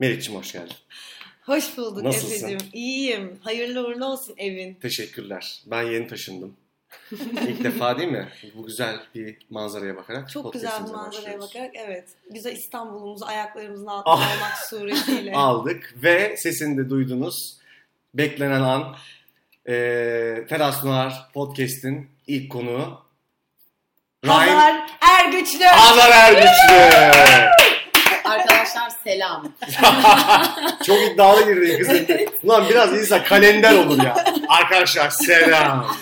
Melek'ciğim hoş geldin. Hoş bulduk Nasılsın? Efe'cim. İyiyim. Hayırlı uğurlu olsun evin. Teşekkürler. Ben yeni taşındım. İlk defa değil mi? Bu güzel bir manzaraya bakarak. Çok güzel bir podcastimize manzaraya başlıyoruz. bakarak evet. Güzel İstanbul'umuzu ayaklarımızın altına almak suretiyle. Aldık ve sesini de duydunuz. Beklenen an e, Teras Noir Podcast'in ilk konuğu Ryan Pazar Ergüçlü. Azar Ergüçlü. Arkadaşlar selam. Çok iddialı girdin kızım. Ulan biraz insan kalender olur ya. Arkadaşlar selam.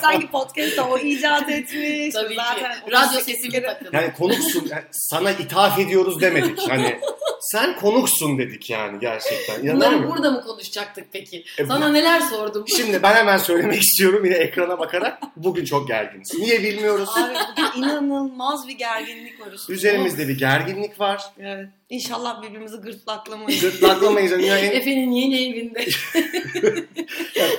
Sanki podcast'ta o icat etmiş. Tabii Zaten ki. Radyo 38 sesimi kere- takın. Yani konuksun. yani sana ithaf ediyoruz demedik. Hani sen konuksun dedik yani gerçekten. İnanamıyorum. Bunları burada mı konuşacaktık peki? E, Sana neler sordum? Şimdi ben hemen söylemek istiyorum yine ekrana bakarak. Bugün çok gerginiz. Niye bilmiyoruz. Abi bugün inanılmaz bir gerginlik var üstümüzde. Üzerimizde bir gerginlik var. Evet. İnşallah birbirimizi gırtlaklamayız. Gırtlaklamayız. Yani Efe'nin yeni evinde.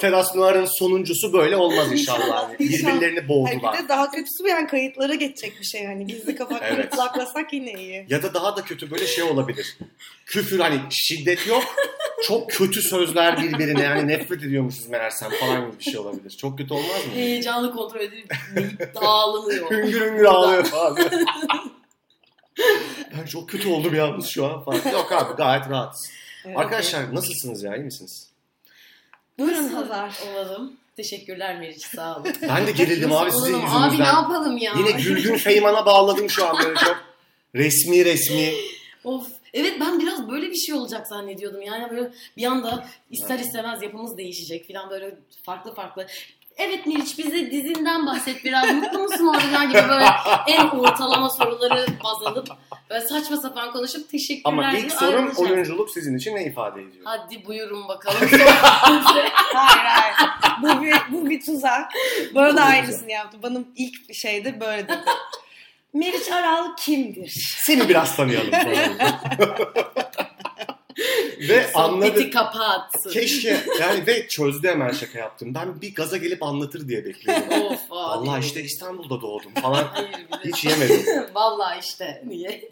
teras Noir'ın sonuncusu böyle olmaz inşallah. Yani İnşallah. Birbirlerini Hayır, bir boğdular. de daha kötüsü bu yani kayıtlara geçecek bir şey hani gizli kapak Evet. gırtlaklasak yine iyi. Ya da daha da kötü böyle şey olabilir. Küfür hani şiddet yok. Çok kötü sözler birbirine yani nefret ediyormuşuz meğersem falan gibi bir şey olabilir. Çok kötü olmaz mı? Heyecanlı kontrol edilip dağılıyor. Hüngür hüngür ağlıyor falan. ben çok kötü oldum yalnız şu an falan. Yok abi gayet rahatız. Evet. Arkadaşlar nasılsınız ya iyi misiniz? Buyurun Hazar. Olalım. Teşekkürler Meriç sağ olun. Ben de gerildim abi Nasıl sizin olalım? yüzünüzden. Abi ne yapalım ya? Yine Gülgün Feyman'a bağladım şu an böyle çok. Resmi resmi. Of. Evet ben biraz böyle bir şey olacak zannediyordum. Yani böyle bir anda ister istemez yapımız değişecek falan böyle farklı farklı. Evet Meriç bize dizinden bahset biraz. Mutlu musun orada gibi böyle en ortalama soruları baz alıp böyle saçma sapan konuşup teşekkürler Ama diye ilk sorum ayrılacağız. oyunculuk sizin için ne ifade ediyor? Hadi buyurun bakalım. Hayır hayır. Bu bir, bu bir tuzak. Bana da aynısını yaptı. Bana ilk şeyde böyle dedi. Meriç Aral kimdir? Seni biraz tanıyalım. ve anladım. Sohbeti kapat. Keşke yani ve çözdü hemen şaka yaptım. Ben bir gaza gelip anlatır diye bekliyordum. Of abi. Allah işte İstanbul'da doğdum falan. Hayır bir de- Hiç yemedim. Vallahi işte. Niye?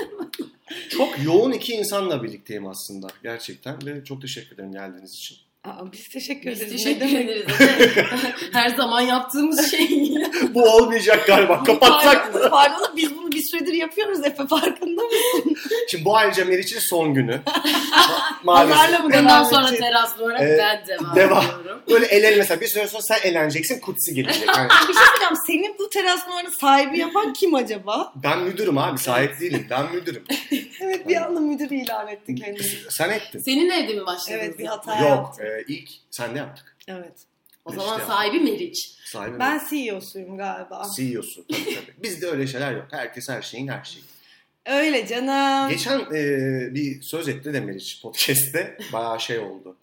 Çok yoğun iki insanla birlikteyim aslında gerçekten ve çok teşekkür ederim geldiğiniz için. Aa, biz teşekkür Biz ederiz. teşekkür Ne demek? ederiz. Her zaman yaptığımız şey. Bu olmayacak galiba. Kapatsak Pardon, pardon, biz bunu bir süredir yapıyoruz Efe farkında mısın? Şimdi bu ayrıca Meriç'in son günü. Ma- Pazarla Maalesef. mı Bundan devam sonra edeceğiz? teras olarak Ee, ben devam, devam. ediyorum. Böyle el ele mesela bir süre sonra sen eleneceksin kutsi gelecek. Yani Bir şey söyleyeceğim. Senin bu teras numaranın sahibi yapan kim acaba? ben müdürüm abi sahip değilim. Ben müdürüm. Evet bir anda müdür ilan etti kendini. Sen ettin. Senin evde mi başladınız? Evet bir ya? hata Yok yaptım. e, ilk sen de yaptık. Evet. O zaman İşte. sahibi Meriç. Sahibi Ben ben... CEO'suyum galiba. CEO'su tabii tabii. Bizde öyle şeyler yok. Herkes her şeyin her şeyi. Öyle canım. Geçen e, bir söz etti de Meriç podcast'te bayağı şey oldu.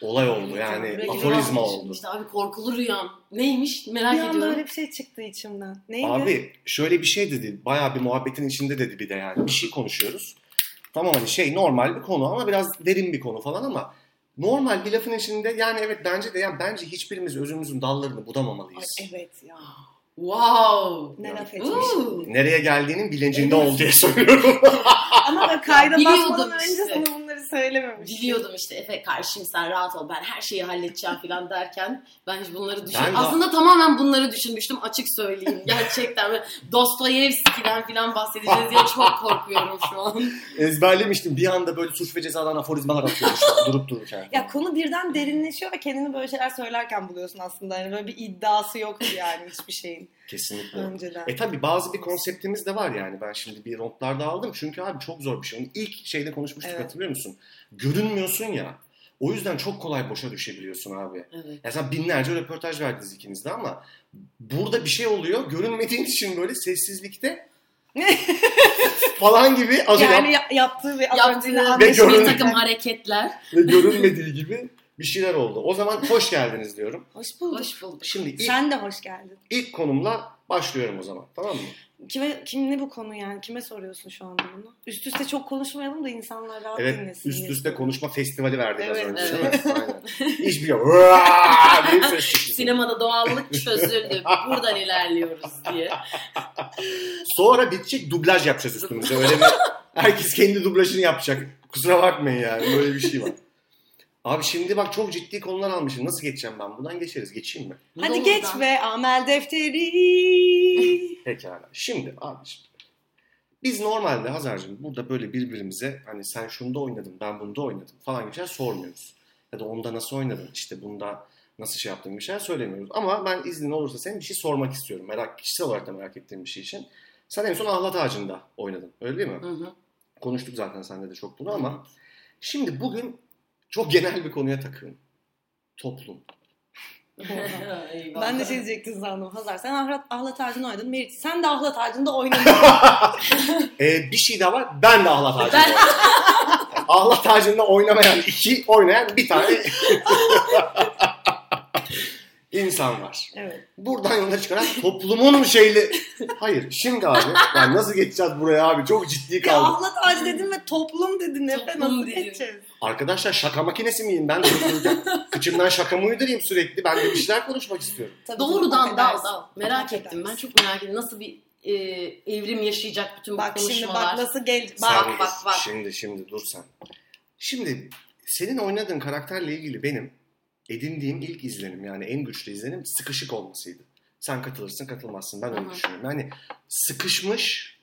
Olay oldu yani Rüyam Hani aforizma düşünmüştüm. oldu. İşte abi korkulu rüyam. Neymiş merak Bir anda ediyorum. öyle bir şey çıktı içimden. Neydi? Abi şöyle bir şey dedi. Bayağı bir muhabbetin içinde dedi bir de yani. Bir şey konuşuyoruz. Tamam hani şey normal bir konu ama biraz derin bir konu falan ama normal bir lafın içinde yani evet bence de yani bence hiçbirimiz özümüzün dallarını Ay, budamamalıyız. evet ya. Wow. Ne Ya. laf etmiş. Uuu. Nereye geldiğinin bilincinde Evet. ol diye söylüyorum. Ama ben kayda Biliyordum basmadan önce işte. sana bunları söylememiştim. Biliyordum işte Efe karşıyım sen rahat ol ben her şeyi halledeceğim falan derken ben hiç bunları Ben düşünmedim. de- Aslında tamamen bunları düşünmüştüm açık söyleyeyim. Gerçekten böyle Dostoyevski'den falan bahsedeceğiz diye çok korkuyorum şu an. Ezberlemiştim. Bir anda böyle suç ve cezadan aforizmalar atıyormuş. durup dururken. Ya konu birden derinleşiyor ve kendini böyle şeyler söylerken buluyorsun aslında. Yani böyle bir iddiası yoktu yani hiçbir şeyin Kesinlikle. önceden. E tabi bazı bir konseptimiz de var yani. Ben şimdi bir rondlarda aldım. Çünkü abi çok zor bir şey. Onu ilk şeyde konuşmuştuk Evet. hatırlıyor musun? Görünmüyorsun ya. O yüzden çok kolay boşa düşebiliyorsun abi. Evet. Ya sen binlerce röportaj verdiniz ikiniz de ama burada bir şey oluyor. Görünmediğin için böyle sessizlikte falan gibi az önce yani ya- yaptığı ve az önce yine Yaptığı Ve anlaşılan- bir görünen- takım hareketler. ve görünmediği gibi bir şeyler oldu. O zaman hoş geldiniz diyorum. Hoş bulduk. Hoş bulduk. Şimdi ilk, Sen de hoş geldin. ilk konumla başlıyorum o zaman. Tamam mı? Kime, kim ne bu konu yani? Kime soruyorsun şu anda bunu? Üst üste çok konuşmayalım da insanlar rahat Evet dinlesin. üst diye üste soruyorum. konuşma festivali verdik Evet, az önce evet. değil mi? Aynen. Hiçbir şey. "Vaa!" diye bir ses çıktı. Sinemada doğallık çözüldü. Buradan ilerliyoruz diye. Sonra bitecek dublaj yapacağız üstümüze. Öyle bir herkes kendi dublajını yapacak. Kusura bakmayın yani böyle bir şey var. Abi şimdi bak çok ciddi konular almışım. Nasıl geçeceğim ben? Buradan geçeriz. Geçeyim mi? Hadi Doğrudan. geç be amel defteri. Pekala. Şimdi abi şimdi. Biz normalde Hazar'cığım burada böyle birbirimize hani sen şunda oynadın ben bunda oynadım falan gibi şeyler sormuyoruz. Ya da onda nasıl oynadın işte bunda nasıl şey yaptın gibi şeyler söylemiyoruz. Ama ben iznin olursa senin bir şey sormak istiyorum. Merak, kişisel olarak da merak ettiğim bir şey için. Sen en son ahlat ağacında oynadın öyle değil mi? Hı hı. Konuştuk zaten sende de çok bunu ama şimdi bugün çok genel bir konuya takıyorum. Toplum. Eyvah. ben de şey diyecektim sandım. Hazar sen ahlat, ahlat ağacında oynadın. Meriç sen de ahlat ağacında oynadın. Ee, bir şey daha var. Ben de ahlat ağacında. Ben- oynadım. ahlat ağacında oynamayan iki, oynayan bir tane insan var. evet. Buradan yola çıkarak toplumun şeyli... Hayır şimdi abi ben nasıl geçeceğiz buraya abi çok ciddi Ya kaldım. ahlat ağacı dedim ve toplum dedin. Efe Toplum nasıl dedim. geçeceğiz? Arkadaşlar şaka makinesi miyim ben? Kıçımdan şaka mı uydurayım sürekli? Ben de bir şeyler konuşmak istiyorum. Tabii Doğrudan çok dal affedersin. dal. Merak Affedersin. ettim. Ben çok merak ettim. Nasıl bir e, evrim yaşayacak bütün bu Bak şimdi konuşmalar? bak nasıl gel... Bak. Sen- bak, bak. Şimdi şimdi dur sen. Şimdi senin oynadığın karakterle ilgili benim edindiğim ilk izlenim yani en güçlü izlenim sıkışık olmasıydı. Sen katılırsın katılmazsın ben öyle Hı hı. düşünüyorum. Yani sıkışmış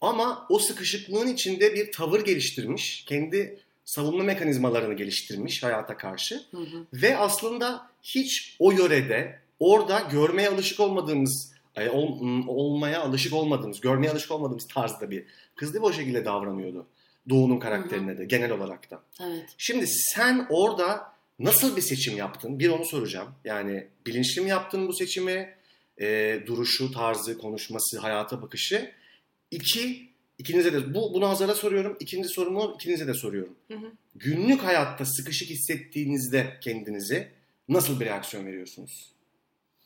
ama o sıkışıklığın içinde bir tavır geliştirmiş. Kendi savunma mekanizmalarını geliştirmiş hayata karşı. Hı hı. Ve aslında hiç o yörede orada görmeye alışık olmadığımız e, ol- m, olmaya alışık olmadığımız, görmeye alışık olmadığımız tarzda bir kız değil mi o şekilde davranıyordu. Doğu'nun karakterine de genel olarak da. Evet. Şimdi sen orada nasıl bir seçim yaptın? Bir onu soracağım. Yani bilinçli mi yaptın bu seçimi? E, duruşu, tarzı, konuşması, hayata bakışı. İki, ikinize de bu bunu Hazar'a soruyorum. İkinci sorumu ikinize de soruyorum. Hı hı. Günlük hayatta sıkışık hissettiğinizde kendinizi nasıl bir reaksiyon veriyorsunuz?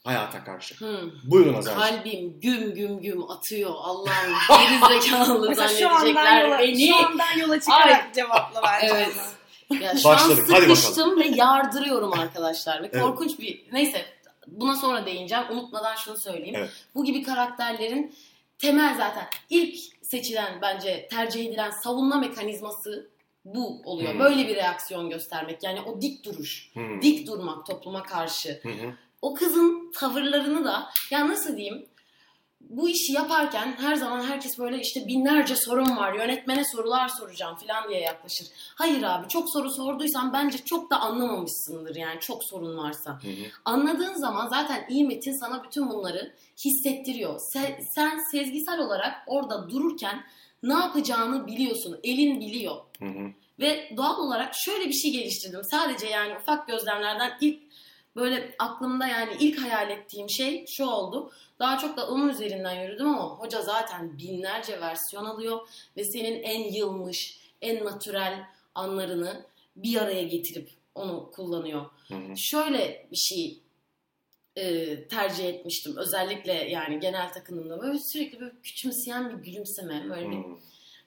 Hayata karşı. Hı. Buyurun Hazar. Kalbim güm güm güm atıyor. Allah'ım gerizekalı Mesela şu andan, zannedecekler yola, beni. şu andan yola çıkarak cevapla bence. Evet. ona. Ya şu Başladık, an hadi bakalım. sıkıştım ve yardırıyorum arkadaşlar. Ve Evet. korkunç bir... Neyse buna sonra değineceğim. Unutmadan şunu söyleyeyim. Evet. Bu gibi karakterlerin temel zaten ilk seçilen bence tercih edilen savunma mekanizması bu oluyor. Hmm. Böyle bir reaksiyon göstermek. Yani o dik duruş. Hmm. Dik durmak topluma karşı. Hı hı. O kızın tavırlarını da ya nasıl diyeyim bu işi yaparken her zaman herkes böyle işte binlerce sorun var yönetmene sorular soracağım falan diye yaklaşır. Hayır abi çok soru sorduysan bence çok da anlamamışsındır yani çok sorun varsa. Hı hı. Anladığın zaman zaten iyi metin sana bütün bunları hissettiriyor. Se- sen sezgisel olarak orada dururken ne yapacağını biliyorsun. Elin biliyor. Hı hı. Ve doğal olarak şöyle bir şey geliştirdim. Sadece yani ufak gözlemlerden ilk böyle aklımda yani ilk hayal ettiğim şey şu oldu. Daha çok da onun üzerinden yürüdüm ama hoca zaten binlerce versiyon alıyor ve senin en yılmış, en natürel anlarını bir araya getirip onu kullanıyor Hı hı. şöyle bir şey e, tercih etmiştim. Özellikle yani genel takımımda böyle sürekli böyle küçümseyen bir gülümseme. Böyle bir Hı.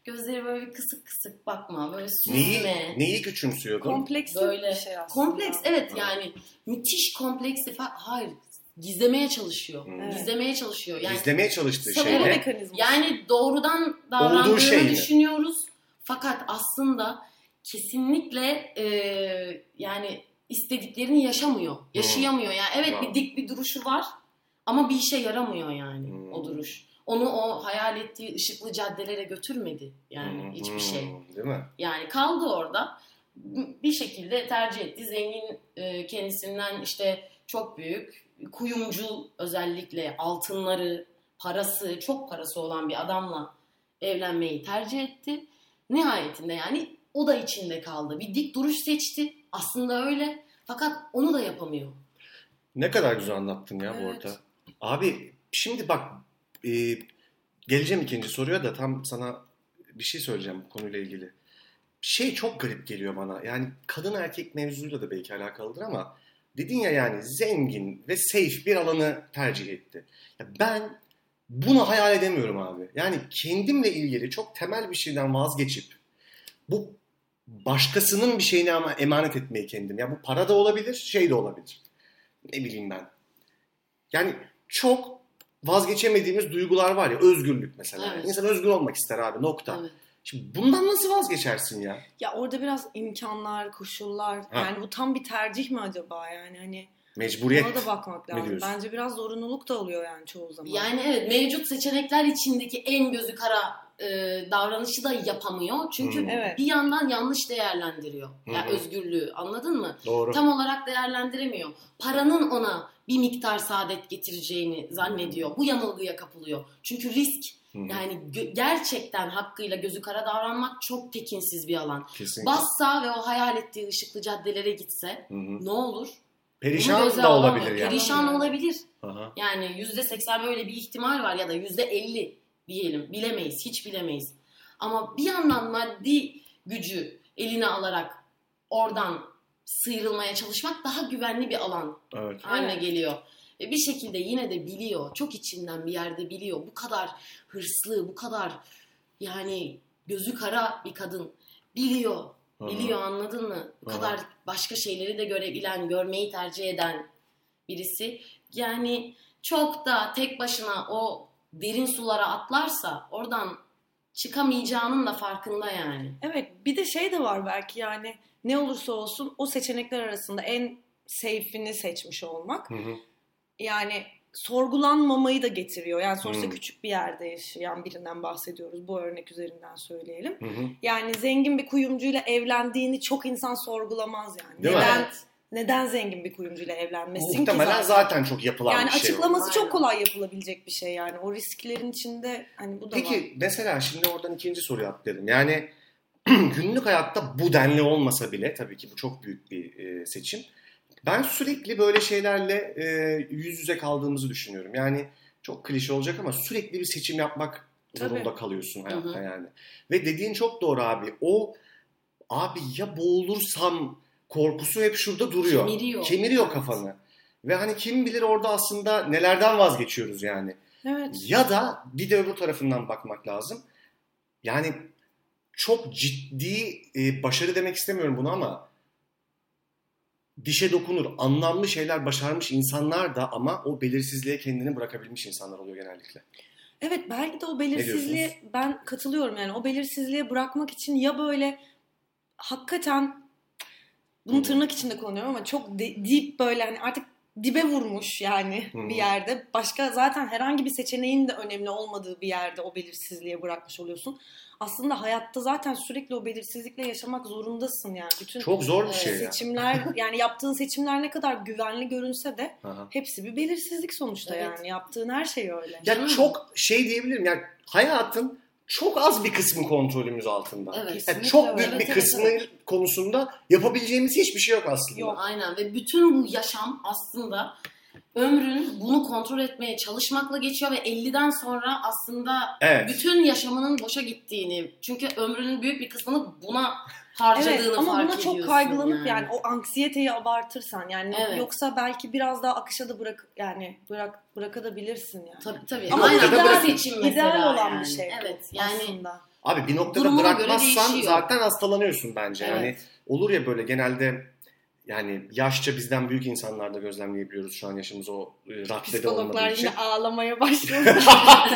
gözleri böyle bir kısık kısık bakma. Böyle Neyi, süzme. neyi küçümsüyordun? Kompleks Böyle bir şey aslında. Kompleks evet Evet. yani müthiş kompleksi fa- hayır gizlemeye çalışıyor. Hı. Evet. Gizlemeye çalışıyor. Yani İzlemeye çalıştığı Savunma şey ne? mekanizması. yani doğrudan davrandığını şey mi? düşünüyoruz. Fakat aslında kesinlikle e, yani istediklerini yaşamıyor. Yaşayamıyor. Yani evet Hmm. Wow. bir dik bir duruşu var ama bir işe yaramıyor yani Hmm. o duruş. Onu o hayal ettiği ışıklı caddelere götürmedi yani Hı hı. hiçbir şey. Hmm, Değil mi? Yani kaldı orada. Bir şekilde tercih etti. Zengin e, kendisinden işte çok büyük kuyumcu özellikle altınları, parası, çok parası olan bir adamla evlenmeyi tercih etti. Nihayetinde yani o da içinde kaldı. Bir dik duruş seçti. Aslında öyle. Fakat onu da yapamıyor. Ne kadar güzel anlattın ya bu Evet. orta. Abi şimdi bak e, geleceğim ikinci soruya da tam sana bir şey söyleyeceğim bu konuyla ilgili. Şey çok garip geliyor bana. Yani kadın erkek mevzuyla da belki alakalıdır ama dedin ya yani zengin ve safe bir alanı tercih etti. Ya ben bunu hayal edemiyorum abi. Yani kendimle ilgili çok temel bir şeyden vazgeçip bu başkasının bir şeyine ama emanet etmeyi kendim. Ya bu para da olabilir, şey de olabilir ne bileyim ben. Yani çok vazgeçemediğimiz duygular var ya özgürlük mesela. Evet. İnsan özgür olmak ister abi nokta. Evet. Şimdi bundan nasıl vazgeçersin ya? Ya orada biraz imkanlar, koşullar. Ha. Yani bu tam bir tercih mi acaba yani hani Mecburiyet. ona da bakmak Ne lazım. diyorsun? Bence biraz zorunluluk da oluyor yani çoğu zaman. Yani evet mevcut seçenekler içindeki en gözü kara e, davranışı da yapamıyor. Çünkü Hmm. Evet. bir yandan yanlış değerlendiriyor. Yani Hı hı. özgürlüğü anladın mı? Doğru. Tam olarak değerlendiremiyor. Paranın ona bir miktar saadet getireceğini zannediyor. Bu yanılgıya kapılıyor. Çünkü risk Hı hı. yani gö- gerçekten hakkıyla gözü kara davranmak çok tekinsiz bir alan. Kesinlikle. Bassa ve o hayal ettiği ışıklı caddelere gitse Hı hı. ne olur? Bunu Perişan göze da alamıyor. olabilir yani. Perişan olabilir. Aha. Yani yüzde seksen böyle bir ihtimal var ya da yüzde elli diyelim. Bilemeyiz, hiç bilemeyiz. Ama bir yandan maddi gücü eline alarak oradan sıyrılmaya çalışmak daha güvenli bir alan Evet. haline Evet. geliyor. Ve bir şekilde yine de biliyor, çok içinden bir yerde biliyor. Bu kadar hırslı, bu kadar yani gözü kara bir kadın biliyor. Aha. Biliyor anladın mı? Bu Aha. kadar başka şeyleri de görebilen, görmeyi tercih eden birisi. Yani çok da tek başına o derin sulara atlarsa oradan çıkamayacağının da farkında yani. Evet bir de şey de var belki yani ne olursa olsun o seçenekler arasında en safe'ini seçmiş olmak. Hı hı. Yani sorgulanmamayı da getiriyor. Yani sonuçta Hmm. küçük bir yerde yaşayan birinden bahsediyoruz. Bu örnek üzerinden söyleyelim. Hı hı. Yani zengin bir kuyumcuyla evlendiğini çok insan sorgulamaz yani. Değil mi? neden neden zengin bir kuyumcuyla evlenmesin ki Muhtemelen zaten? zaten çok yapılan yani bir şey. o. açıklaması çok Aynen. kolay yapılabilecek bir şey yani. O risklerin içinde hani bu da var. Peki mesela şimdi oradan ikinci soruya atladım. Yani günlük hayatta bu denli olmasa bile tabii ki bu çok büyük bir e, seçim. Ben sürekli böyle şeylerle e, yüz yüze kaldığımızı düşünüyorum. Yani çok klişe olacak ama sürekli bir seçim yapmak zorunda Tabii. kalıyorsun Hı hı. hayatta yani. Ve dediğin çok doğru abi. O abi ya boğulursam korkusu hep şurada duruyor. Kemiriyor. Kemiriyor Evet. kafanı. Ve hani kim bilir orada aslında nelerden vazgeçiyoruz yani. Evet. Ya da bir de öbür tarafından bakmak lazım. Yani çok ciddi e, başarı demek istemiyorum bunu ama dişe dokunur, anlamlı şeyler başarmış insanlar da ama o belirsizliğe kendini bırakabilmiş insanlar oluyor genellikle. Evet belki de o belirsizliğe ben katılıyorum yani o belirsizliğe bırakmak için ya böyle hakikaten Hı bunu hı. tırnak içinde kullanıyorum ama çok de- deep böyle hani artık dibe vurmuş yani Hı hı. bir yerde. Başka zaten herhangi bir seçeneğin de önemli olmadığı bir yerde o belirsizliğe bırakmış oluyorsun. Aslında hayatta zaten sürekli o belirsizlikle yaşamak zorundasın yani. Bütün Çok zor bir e, şey ya. seçimler yani yaptığın seçimler ne kadar güvenli görünse de Aha. hepsi bir belirsizlik sonuçta Evet. yani. Yaptığın her şey öyle. Ya çok şey diyebilirim yani hayatın çok az bir kısmı kontrolümüz altında. Evet. Yani Kesinlikle çok öyle. büyük Evet, bir evet, kısmı konusunda yapabileceğimiz hiçbir şey yok aslında. Yok. Aynen ve bütün bu yaşam aslında ömrün bunu kontrol etmeye çalışmakla geçiyor ve 50'den sonra aslında Evet. bütün yaşamının boşa gittiğini çünkü ömrünün büyük bir kısmını buna harcadığını Evet ama fark buna çok ediyorsun kaygılanıp yani. o anksiyeteyi abartırsan yani Evet. yoksa belki biraz daha akışa da bırak yani bırak bırakabilirsin yani. Tabii tabii. Ama Aynen, ideal- bu da seçim mesela İdeal olan yani. bir şey. bu Evet yani aslında. Abi bir noktada Durumuna göre bırakmazsan değişiyor. zaten hastalanıyorsun bence. Evet. Yani olur ya böyle genelde yani yaşça bizden büyük insanlarda gözlemleyebiliyoruz şu an yaşımız o e, raddede olmadığı Psikologlar için. yine ağlamaya başladı.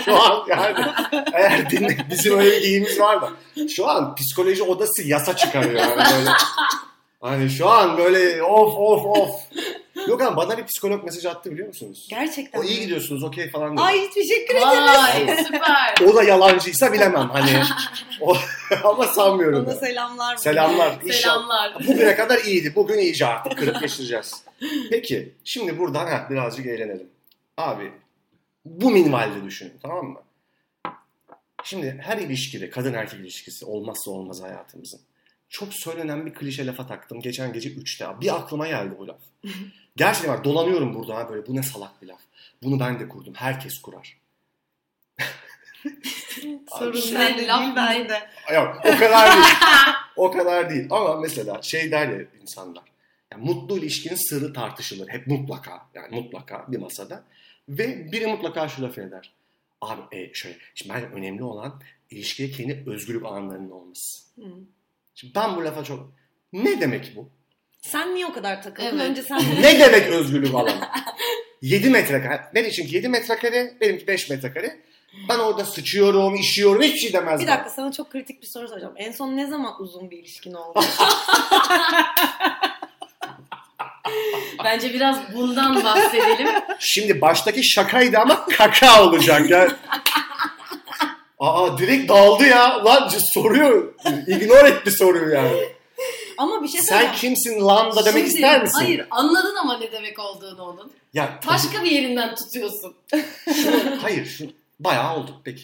şu an yani eğer dinle, bizim öyle bir iyimiz var da. Şu an psikoloji odası yasa çıkarıyor. Yani böyle. Hani şu an böyle of of of. Yok ama bana bir psikolog mesaj attı biliyor musunuz? Gerçekten. O iyi gidiyorsunuz okey falan dedi. Ay teşekkür ederim. Vay süper. O da yalancıysa bilemem hani. O, ama sanmıyorum. Ona ben. selamlar. Selamlar. şey inşallah. Selamlar. Bugüne kadar iyiydi. Bugün iyice artık kırıp geçireceğiz. Peki şimdi buradan ha, birazcık eğlenelim. Abi bu minvalde düşünün tamam mı? Şimdi her ilişkide kadın erkek ilişkisi olmazsa olmaz hayatımızın. Çok söylenen bir klişe lafa taktım geçen gece 3'te. abi. Bir aklıma geldi bu laf. Gerçekten bak dolanıyorum burada ha böyle bu ne salak bir laf. Bunu ben de kurdum. Herkes kurar. Sorun Sen bende Şey, laf değil bile- bende. Yok o kadar değil. o kadar değil. Ama mesela şey der ya insanlar. Yani mutlu ilişkinin sırrı tartışılır. Hep mutlaka. Yani mutlaka bir masada. Ve biri mutlaka şu lafı eder. Abi e, şöyle. Şimdi bence önemli olan ilişkiye kendi özgürlük anlarının olması. Hı. Şimdi ben bu lafa çok... Ne demek bu? Sen niye o kadar takıldın? Evet. Önce sen ne demek özgürlük alanı? 7 metrekare. Ne için ki 7 metrekare? Benimki 5 metrekare. Ben orada sıçıyorum, işiyorum, hiçbir şey demez. Bir bana. dakika sana çok kritik bir soru soracağım. En son ne zaman uzun bir ilişkin oldu? Ah. Bence biraz bundan bahsedelim. Şimdi baştaki şakaydı ama kaka olacak ya. Aa direkt daldı ya. Lan c- soruyor. Ignore etti soruyu yani. Ama bir şey Sen söyleyeceğim. kimsin lan da demek Şimdi- ister misin? Hayır anladın ama ne demek olduğunu onun. Ya Başka bir yerinden tutuyorsun. şunu, hayır şunu. Bayağı oldu peki.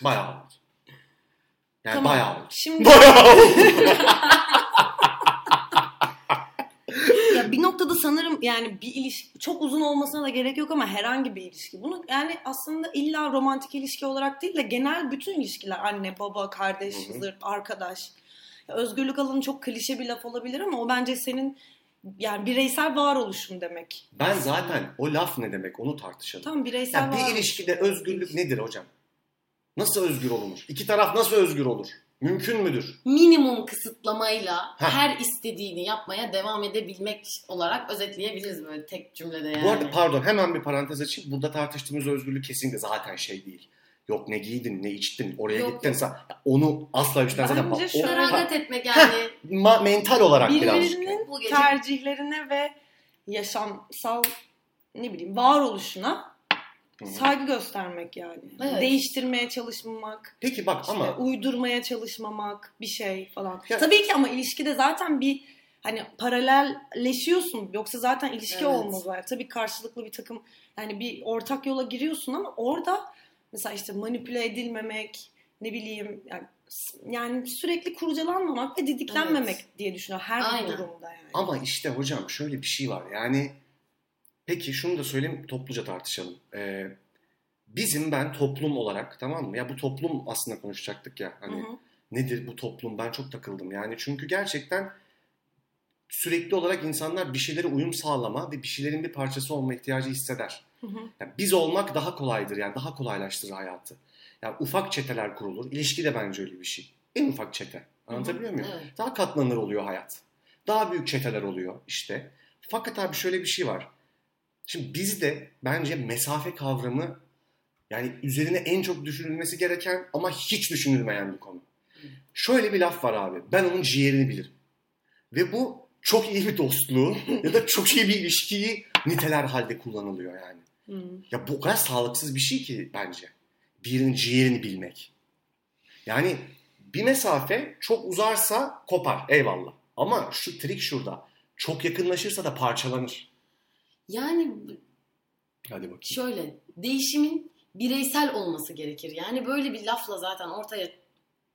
Bayağı oldu. Yani Tamam. bayağı oldu. Şimdi Bayağı oldu. ya bir noktada sanırım yani bir ilişki çok uzun olmasına da gerek yok ama herhangi bir ilişki. Bunu yani aslında illa romantik ilişki olarak değil de genel bütün ilişkiler anne, baba, kardeş, Hı hı. zırt, arkadaş. Ya özgürlük alanı çok klişe bir laf olabilir ama o bence senin yani bireysel varoluşun demek. ben zaten o laf ne demek onu tartışalım. Tam bireysel Ya bir varoluş. ilişkide özgürlük nedir hocam? Nasıl özgür olunur? İki taraf nasıl özgür olur? Mümkün müdür? Minimum kısıtlamayla Heh. her istediğini yapmaya devam edebilmek olarak özetleyebiliriz böyle tek cümlede yani. Bu arada pardon hemen bir parantez açayım. Burada tartıştığımız özgürlük kesinlikle zaten şey değil. Yok ne giydin ne içtin oraya Yok, gittin sen. ya Onu asla bir şeyden zaten Bence bak. şu- O, Feragat etmek yani. ma- mental olarak birazcık. birbirinin Bu gece tercihlerine ve yaşamsal ne bileyim varoluşuna Hı. saygı göstermek yani. Evet. Değiştirmeye çalışmamak, Peki bak işte ama uydurmaya çalışmamak, bir şey falan. Ya- Tabii ki ama ilişkide zaten bir hani paralelleşiyorsun. Yoksa zaten ilişki Evet. olmaz var. Tabii karşılıklı bir takım yani bir ortak yola giriyorsun ama orada mesela işte manipüle edilmemek, ne bileyim yani, yani sürekli kurcalanmamak ve didiklenmemek diye düşünüyorum her Aynen. durumda yani. ama işte hocam şöyle bir şey var. Yani peki şunu da söyleyeyim topluca tartışalım. Ee, bizim ben toplum olarak tamam mı? Ya bu toplum aslında konuşacaktık ya. Hani Hı hı. nedir bu toplum ben çok takıldım yani çünkü gerçekten sürekli olarak insanlar bir şeylere uyum sağlama ve bir şeylerin bir parçası olma ihtiyacı hisseder. Hı hı. Yani biz olmak daha kolaydır yani daha kolaylaştırır hayatı. Yani ufak çeteler kurulur. İlişki de bence öyle bir şey. En ufak çete. Anlatabiliyor muyum? Evet. Daha katlanır oluyor hayat. Daha büyük çeteler oluyor işte. Fakat abi şöyle bir şey var. Şimdi bizde bence mesafe kavramı yani üzerine en çok düşünülmesi gereken ama hiç düşünülmeyen bir konu. Şöyle bir laf var abi. Ben onun ciğerini bilirim. Ve bu çok iyi bir dostluğu ya da çok iyi bir ilişkiyi niteler halde kullanılıyor yani. Hı. Ya bu o kadar sağlıksız bir şey ki bence. Birinin ciğerini bilmek. Yani bir mesafe çok uzarsa kopar eyvallah. Ama şu trik şurada. Çok yakınlaşırsa da parçalanır. Yani Hadi bakayım. şöyle değişimin bireysel olması gerekir. Yani böyle bir lafla zaten ortaya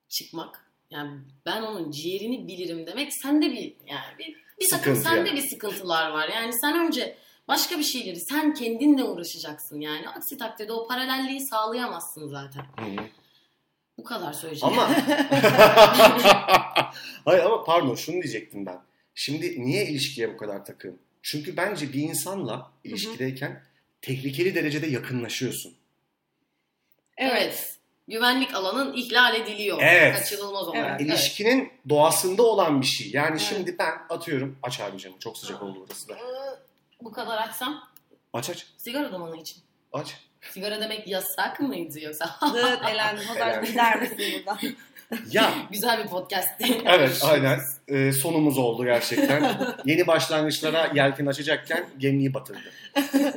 çıkmak. Yani ben onun ciğerini bilirim demek sende bir yani bir, bir takım Sıkıntı sende yani. bir sıkıntılar var. Yani sen önce başka bir şeyleri sen kendinle uğraşacaksın yani. Aksi takdirde o paralelliği sağlayamazsın zaten. Hı. Bu kadar söyleyeceğim. Ama Hayır ama pardon şunu diyecektim ben. Şimdi niye ilişkiye bu kadar takığım? Çünkü bence bir insanla ilişkideyken tehlikeli derecede yakınlaşıyorsun. evet. Evet. Güvenlik alanın ihlal ediliyor. Evet. Kaçınılmaz olarak. Evet. İlişkinin doğasında olan bir şey. Yani Evet. şimdi ben atıyorum aç abi canım çok sıcak oldu burası da. Evet. Ee, Bu kadar açsam Aç aç sigara dumanı için. aç. Sigara demek yasak mıydı yoksa? Zıt elendi. O zaman Elendi. gider misin buradan? Ya Güzel bir podcast. Evet aynen. Ee, sonumuz oldu gerçekten. Yeni başlangıçlara yelken açacakken gemiyi batırdı.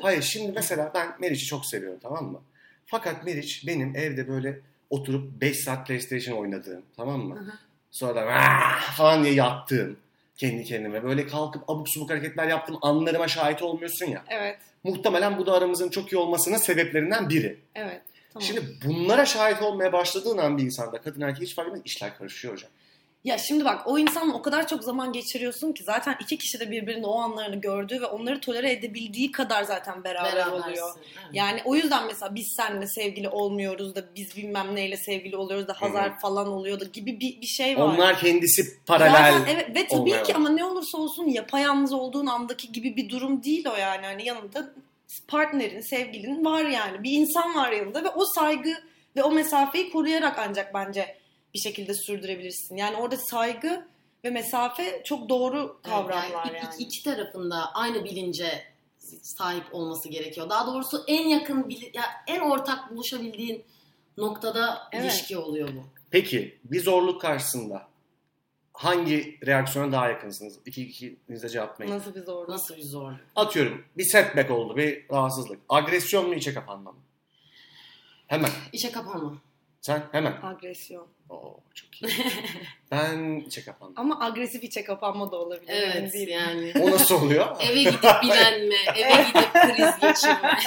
Hayır şimdi mesela ben Meriç'i çok seviyorum tamam mı? Fakat Meriç benim evde böyle oturup 5 saat PlayStation oynadığım tamam Hı hı. mı? Sonra da "Ah!" falan diye yattığım kendi kendime böyle kalkıp abuk subuk hareketler yaptığım anlarıma şahit olmuyorsun ya. Evet. Muhtemelen bu da aramızın çok iyi olmasının sebeplerinden biri. Evet. Tamam. Şimdi bunlara şahit olmaya başladığın an bir insanda kadın erkek hiç fark etmez işler karışıyor hocam. Ya şimdi bak o insanla o kadar çok zaman geçiriyorsun ki zaten iki kişi de birbirinin o anlarını gördüğü ve onları tolere edebildiği kadar zaten beraber oluyor. Berabersin. Evet. Yani o yüzden mesela biz seninle sevgili olmuyoruz da biz bilmem neyle sevgili oluyoruz da Hazar falan oluyor da gibi bir, bir şey var. Onlar kendisi paralel. Zaten e- evet ve tabii olmaya ki var. ama ne olursa olsun yapayalnız olduğun andaki gibi bir durum değil o yani. Hani yanında partnerin, sevgilin var yani. Bir insan var yanında ve o saygı ve o mesafeyi koruyarak ancak bence bir şekilde sürdürebilirsin. Yani orada saygı ve mesafe çok doğru kavramlar iki- yani. iki tarafında aynı bilince sahip olması gerekiyor. Daha doğrusu en yakın bili- ya en ortak buluşabildiğin noktada Evet. ilişki oluyor bu. Peki bir zorluk karşısında hangi reaksiyona daha yakınsınız? İki ikiniz de cevaplayın. Nasıl bir zorluk? Nasıl bir zorluk? Atıyorum bir setback oldu, bir rahatsızlık. Agresyon mu içe kapanma mı? Hemen. İşe kapanma. Sen hemen. Agresyon. Oo, çok iyi. ben içe kapandım. Ama agresif içe kapanma da olabilir. Evet Yani değil. yani. O nasıl oluyor? E- Eve gidip bilenme, eve gidip kriz geçirme.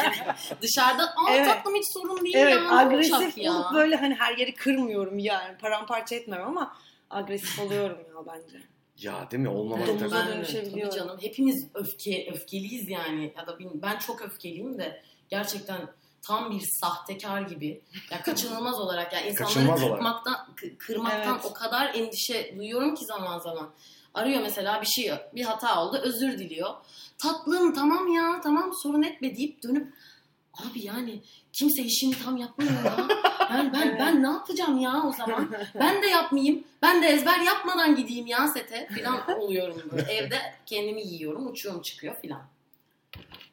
Dışarıda aa Evet. tatlım hiç sorun değil Evet ya. ne olacak agresif ya. olup böyle hani her yeri kırmıyorum yani paramparça etmem ama agresif oluyorum ya bence. Ya değil mi? Olmamak Evet, tabii. ben- şey de, dönüşebiliyor. Tabii canım. Hepimiz öfke, öfkeliyiz yani. Ya da bil- ben çok öfkeliyim de gerçekten tam bir sahtekar gibi. Ya kaçınılmaz olarak ya insanları Kaçınılmaz olarak. kırmaktan kı- kırmaktan Evet. o kadar endişe duyuyorum ki zaman zaman. Arıyor mesela bir şey bir hata oldu özür diliyor. Tatlım tamam ya tamam sorun etme deyip dönüp abi yani kimse işini tam yapmıyor ya. Yani ben ben ne yapacağım ya o zaman? Ben de yapmayayım. Ben de ezber yapmadan gideyim ya sete falan oluyorum böyle. Evde kendimi yiyorum, uçuyorum çıkıyor falan.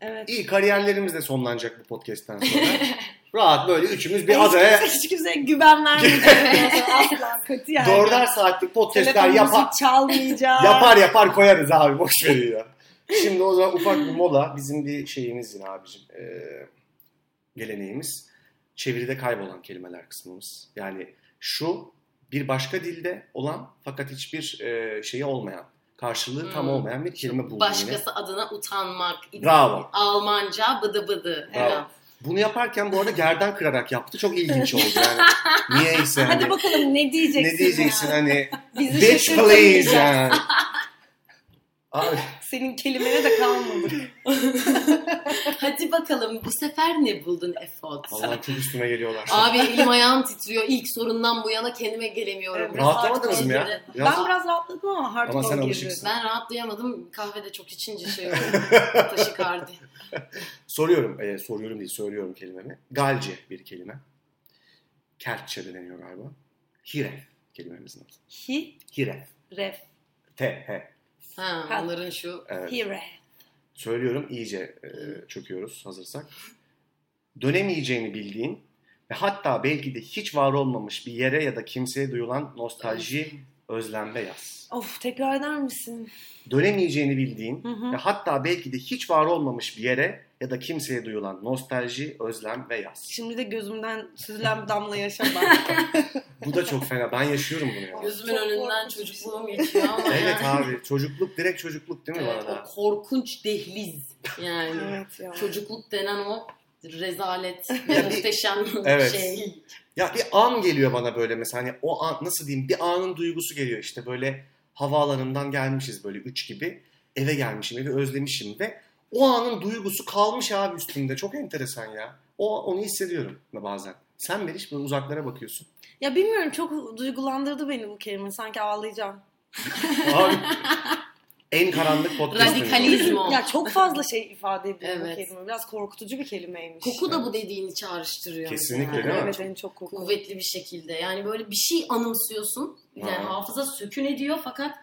Evet. İyi kariyerlerimiz de sonlanacak bu podcast'ten sonra. Rahat böyle üçümüz bir adaya Hiç kimse, hiç kimseye güven vermeyeceğim. Asla kötü yani. dörder saatlik podcast'ler Telefonumuzu yapar. çalmayacağım. Yapar yapar koyarız abi boş verin ya. Şimdi o zaman ufak bir mola bizim bir şeyimiz yine abicim. Ee, geleneğimiz. Çeviride kaybolan kelimeler kısmımız. Yani şu bir başka dilde olan fakat hiçbir e, şeyi olmayan, karşılığı tam Hmm. olmayan bir kelime buldum yine. Başkası adına utanmak. Bravo. Almanca bıdı bıdı. Bravo. Evet. Bunu yaparken bu arada gerdan kırarak yaptı. Çok ilginç oldu yani. Niyeyse yani. Hadi bakalım ne diyeceksin? ne diyeceksin ya? hani. Bizi Bitch please şaşırtmayacaksın. yani. Abi, Senin kelimene de kalmadı. Hadi bakalım bu sefer ne buldun Efot? vallahi çok üstüme geliyorlar. Abi elim ayağım titriyor. İlk sorundan bu yana kendime gelemiyorum. Evet. Rahatlamadınız mı ya? Hardcore Biraz- Ben biraz rahatladım ama hardcore Ama sen girdi. alışıksın. Ben rahatlayamadım. Kahvede çok içince şey oldu. Taşikardi. Soruyorum, e, soruyorum değil, söylüyorum kelimemi. Galce bir kelime. Kertçe de deniyor galiba. Hiref kelimemizin adı. Hi, Hiref. ref, T, H. E, Ha, Ha. onların şu Evet. hi, ref. Söylüyorum, iyice e, çöküyoruz hazırsak. Dönemeyeceğini bildiğin ve hatta belki de hiç var olmamış bir yere ya da kimseye duyulan nostalji, özlemde yaz. Of tekrar eder misin? Dönemeyeceğini bildiğin Hı ve hı. hatta belki de hiç var olmamış bir yere ya da kimseye duyulan nostalji, özlem ve yaz. Şimdi de gözümden süzülen bir damla yaşa bak. Bu da çok fena. Ben yaşıyorum bunu ya. gözümün Çok önünden korkunç bir şey. çocukluğum geçiyor ama Evet yani. abi çocukluk direkt çocukluk değil mi Evet, bana da? o korkunç dehliz yani. evet ya. Çocukluk denen o rezalet ve Ya bir- muhteşem Evet. şey. Ya bir an geliyor bana böyle mesela hani o an nasıl diyeyim bir anın duygusu geliyor işte böyle havaalanından gelmişiz böyle 3 gibi eve gelmişim evi özlemişim ve o anın duygusu kalmış abi üstümde çok enteresan ya. O onu hissediyorum bazen. Sen Meriç böyle uzaklara bakıyorsun. Ya bilmiyorum çok duygulandırdı beni bu kelime. Sanki ağlayacağım. Abi, en karanlık podcast. Radikalizm o. Ya çok fazla şey ifade ediyor bu Evet. kelime. Biraz korkutucu bir kelimeymiş. Koku da bu dediğini çağrıştırıyor. Kesinlikle mesela. değil mi? Evet en çok koku. Kuvvetli bir şekilde. Yani böyle bir şey anımsıyorsun. Yani Ha. hafıza sökün ediyor fakat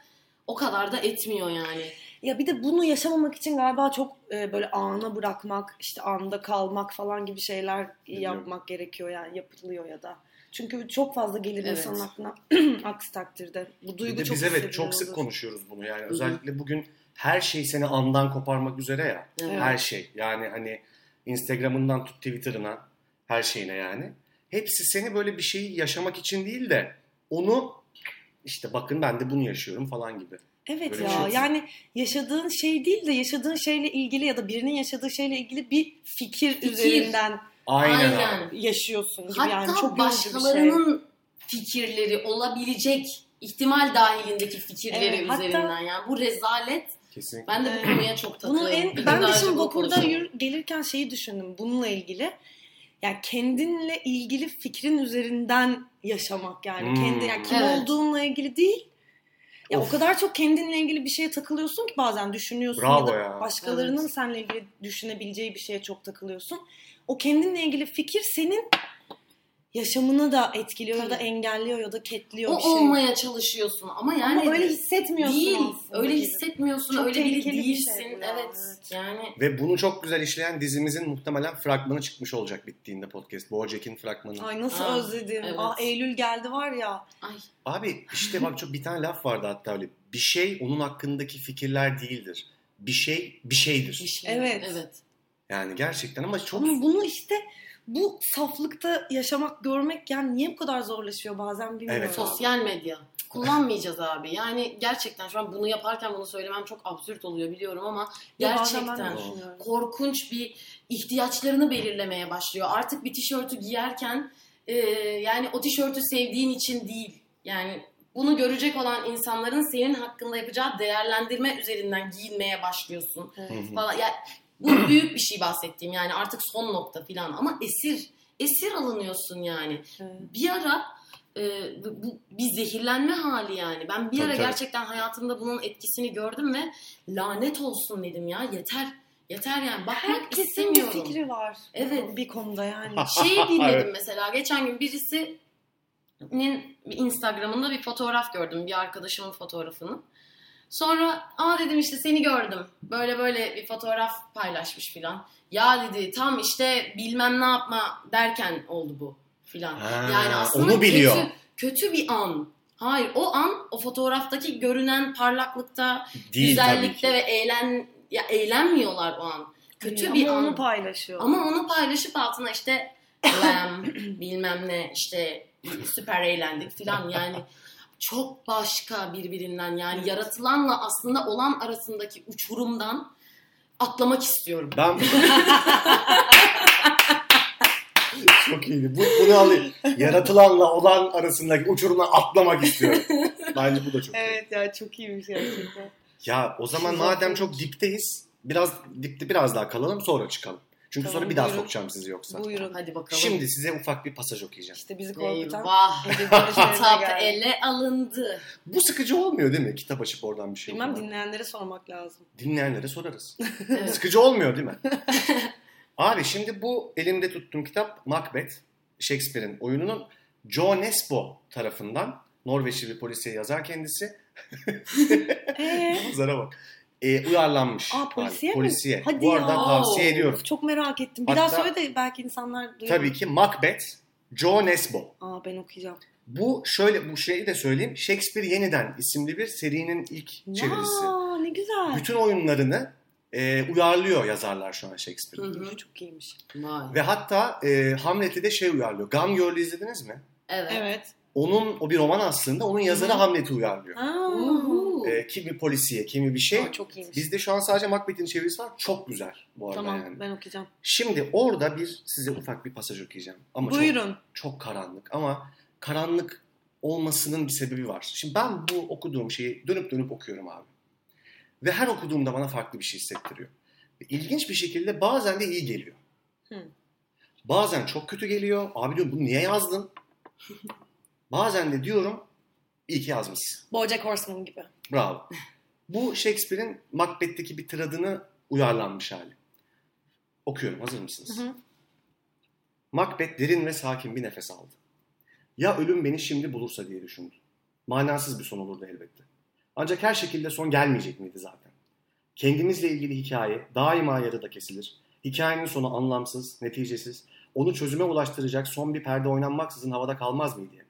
o kadar da etmiyor yani. Ya bir de bunu yaşamamak için galiba çok e, böyle ana bırakmak, işte anda kalmak falan gibi şeyler Biliyorum. yapmak gerekiyor yani yapılıyor ya da. Çünkü çok fazla gelir Evet. insanın aklına aksi takdirde. Bu Bir duygu de çok biz evet hissediyoruz. çok sık konuşuyoruz bunu yani hı. özellikle bugün her şey seni andan koparmak üzere ya. Evet. Her şey. Yani hani Instagram'ından tut Twitter'ına her şeyine yani. Hepsi seni böyle bir şeyi yaşamak için değil de onu işte bakın ben de bunu yaşıyorum falan gibi. Evet Böyle ya bir şey yok. yani yaşadığın şey değil de yaşadığın şeyle ilgili ya da birinin yaşadığı şeyle ilgili bir fikir, Fikir. üzerinden Aynen, Aynen. abi. yaşıyorsun gibi Hatta yani çok yorucu bir şey. başkalarının fikirleri olabilecek ihtimal dahilindeki fikirleri Evet, hatta- üzerinden yani bu rezalet Kesinlikle. ben de Evet. bu konuya çok takığım. Bunu Ee, en, Bir ben gün de daha şimdi önce bu vapurda konuşalım. yürü- gelirken şeyi düşündüm bununla ilgili. Yani kendinle ilgili fikrin üzerinden yaşamak yani. Hmm. Kendi, yani kim Evet. olduğunla ilgili değil. Ya Of. o kadar çok kendinle ilgili bir şeye takılıyorsun ki bazen düşünüyorsun Bravo ya da ya. başkalarının Evet. seninle ilgili düşünebileceği bir şeye çok takılıyorsun. O kendinle ilgili fikir senin yaşamını da etkiliyor ya da Tabii. engelliyor ya da ketliyor O bir şey. olmaya çalışıyorsun ama yani Ama öyle hissetmiyorsun değil. aslında Öyle gibi. hissetmiyorsun. Çok öyle biri tehlikeli bir şey değilsin. bu ya, evet. evet. Yani Ve bunu çok güzel işleyen dizimizin muhtemelen fragmanı çıkmış olacak bittiğinde podcast. BoJack'in fragmanı. Ay nasıl Aa, özledim. evet. Aa Eylül geldi var ya. ay Abi işte bak çok bir tane laf vardı hatta öyle. Bir şey onun hakkındaki fikirler değildir. Bir şey bir bir şeydir. şey. Evet. Evet. Yani gerçekten ama çok Ama bunu işte bu saflıkta yaşamak, görmek yani niye bu kadar zorlaşıyor bazen bilmiyorum. Evet. Sosyal medya. Kullanmayacağız abi. Yani gerçekten şu an bunu yaparken bunu söylemem çok absürt oluyor biliyorum ama Ya bazen ben de gerçekten düşünüyorum. korkunç bir ihtiyaçlarını belirlemeye başlıyor. Artık bir tişörtü giyerken e, yani o tişörtü sevdiğin için değil. Yani bunu görecek olan insanların senin hakkında yapacağı değerlendirme üzerinden giyinmeye başlıyorsun Hı hı. falan. Ya bu büyük bir şey bahsettiğim yani artık son nokta falan ama esir esir alınıyorsun yani. Evet. Bir ara e, bu bu bir zehirlenme hali yani. Ben bir Tabii, ara tabii. gerçekten hayatımda bunun etkisini gördüm ve lanet olsun dedim ya yeter. Yeter yani bakmak Herkesin bir istemiyorum. fikri var. Evet. Bir konuda yani. Şeyi dinledim Evet. mesela. Geçen gün birisinin Instagram'ında bir fotoğraf gördüm. Bir arkadaşımın fotoğrafını. Sonra aa dedim işte seni gördüm. Böyle böyle bir fotoğraf paylaşmış filan. Ya dedi tam işte bilmem ne yapma derken oldu bu filan. Ha, yani aslında onu biliyor. Kötü, kötü bir an. Hayır o an o fotoğraftaki görünen parlaklıkta, değil tabii ki. güzellikte ve eğlen ya eğlenmiyorlar o an. Kötü Ama bir an. onu paylaşıyor. Ama onu paylaşıp altına işte glam, bilmem ne işte süper eğlendik filan yani çok başka birbirinden yani yaratılanla aslında olan arasındaki uçurumdan atlamak istiyorum. Ben Çok iyiydi. Bu, bunu alayım. Yaratılanla olan arasındaki uçuruma atlamak istiyorum. Bence bu da çok iyi. Evet ya çok iyiymiş gerçekten. Ya o zaman Şizofren. madem çok dipteyiz, biraz dipte biraz daha kalalım sonra çıkalım. Çünkü Tamam, sonra bir daha buyurun. sokacağım sizi yoksa. Buyurun. Hadi bakalım. Şimdi size ufak bir pasaj okuyacağım. İşte bizi korkutan. Eyvah. Kitap Kitap el. ele alındı. Bu sıkıcı olmuyor değil mi? Kitap açıp oradan bir şey Bilmem okumak. dinleyenlere sormak lazım. Dinleyenlere sorarız. Evet. Sıkıcı olmuyor değil mi? Abi şimdi bu elimde tuttuğum kitap Macbeth, Shakespeare'in oyununun Joe Nesbo tarafından Norveçli bir polisiye yazar kendisi. Eee? Zara bak. Ee, uyarlanmış. Aa, polisiye mi? Polisiye. Hadi bu arada ya. tavsiye ediyorum. Of, çok merak ettim. Bir Hatta- daha söyle de belki insanlar duyar. Tabii ki Macbeth, Joe Nesbo. Aa ben okuyacağım. Bu şöyle bu şeyi de söyleyeyim. Shakespeare Yeniden isimli bir serinin ilk çevirisi. Aa ne güzel. Bütün oyunlarını e, uyarlıyor yazarlar şu an Shakespeare'in. Hı hı. Çok iyiymiş. Vay. Ve hatta e, Hamlet'i de şey uyarlıyor. Gone Girl'ü izlediniz mi? Evet. Evet. Onun o bir roman aslında. Onun yazarı Hı. Hamlet'i uyarlıyor. Aa. Uhu. E, kimi polisiye, kimi bir şey. Aa, çok iyiymiş. Bizde şu an sadece Macbeth'in çevirisi var. Çok güzel bu arada Tamam yani. ben okuyacağım. Şimdi orada bir size ufak bir pasaj okuyacağım. Ama çok Buyurun. çok karanlık ama karanlık olmasının bir sebebi var. Şimdi ben bu okuduğum şeyi dönüp dönüp okuyorum abi. Ve her okuduğumda bana farklı bir şey hissettiriyor. Ve ilginç bir şekilde bazen de iyi geliyor. Hı. Bazen çok kötü geliyor. Abi diyorum bunu niye yazdın? bazen de diyorum iyi ki yazmışsın. Bojack Horseman gibi. Bravo. Bu Shakespeare'in Macbeth'teki bir tiradını uyarlanmış hali. Okuyorum hazır mısınız? Hı hı. Macbeth derin ve sakin bir nefes aldı. Ya ölüm beni şimdi bulursa diye düşündü. Manasız bir son olurdu elbette. Ancak her şekilde son gelmeyecek miydi zaten? Kendimizle ilgili hikaye daima yarıda kesilir. Hikayenin sonu anlamsız, neticesiz, onu çözüme ulaştıracak son bir perde oynanmaksızın havada kalmaz mıydı hep?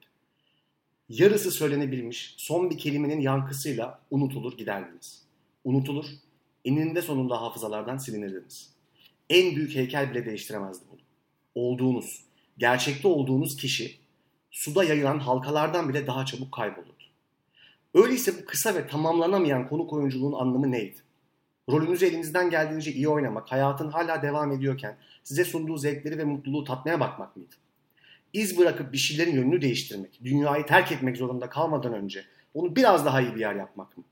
Yarısı söylenebilmiş, son bir kelimenin yankısıyla unutulur giderdiniz. Unutulur, eninde sonunda hafızalardan silinirdiniz. En büyük heykel bile değiştiremezdi bunu olduğunuz, gerçekte olduğunuz kişi suda yayılan halkalardan bile daha çabuk kaybolurdu. Öyleyse bu kısa ve tamamlanamayan konuk oyunculuğun anlamı neydi? Rolünüzü elinizden geldiğince iyi oynamak, hayatın hala devam ediyorken size sunduğu zevkleri ve mutluluğu tatmaya bakmak mıydı? İz bırakıp bir şeylerin yönünü değiştirmek, dünyayı terk etmek zorunda kalmadan önce onu biraz daha iyi bir yer yapmak mı?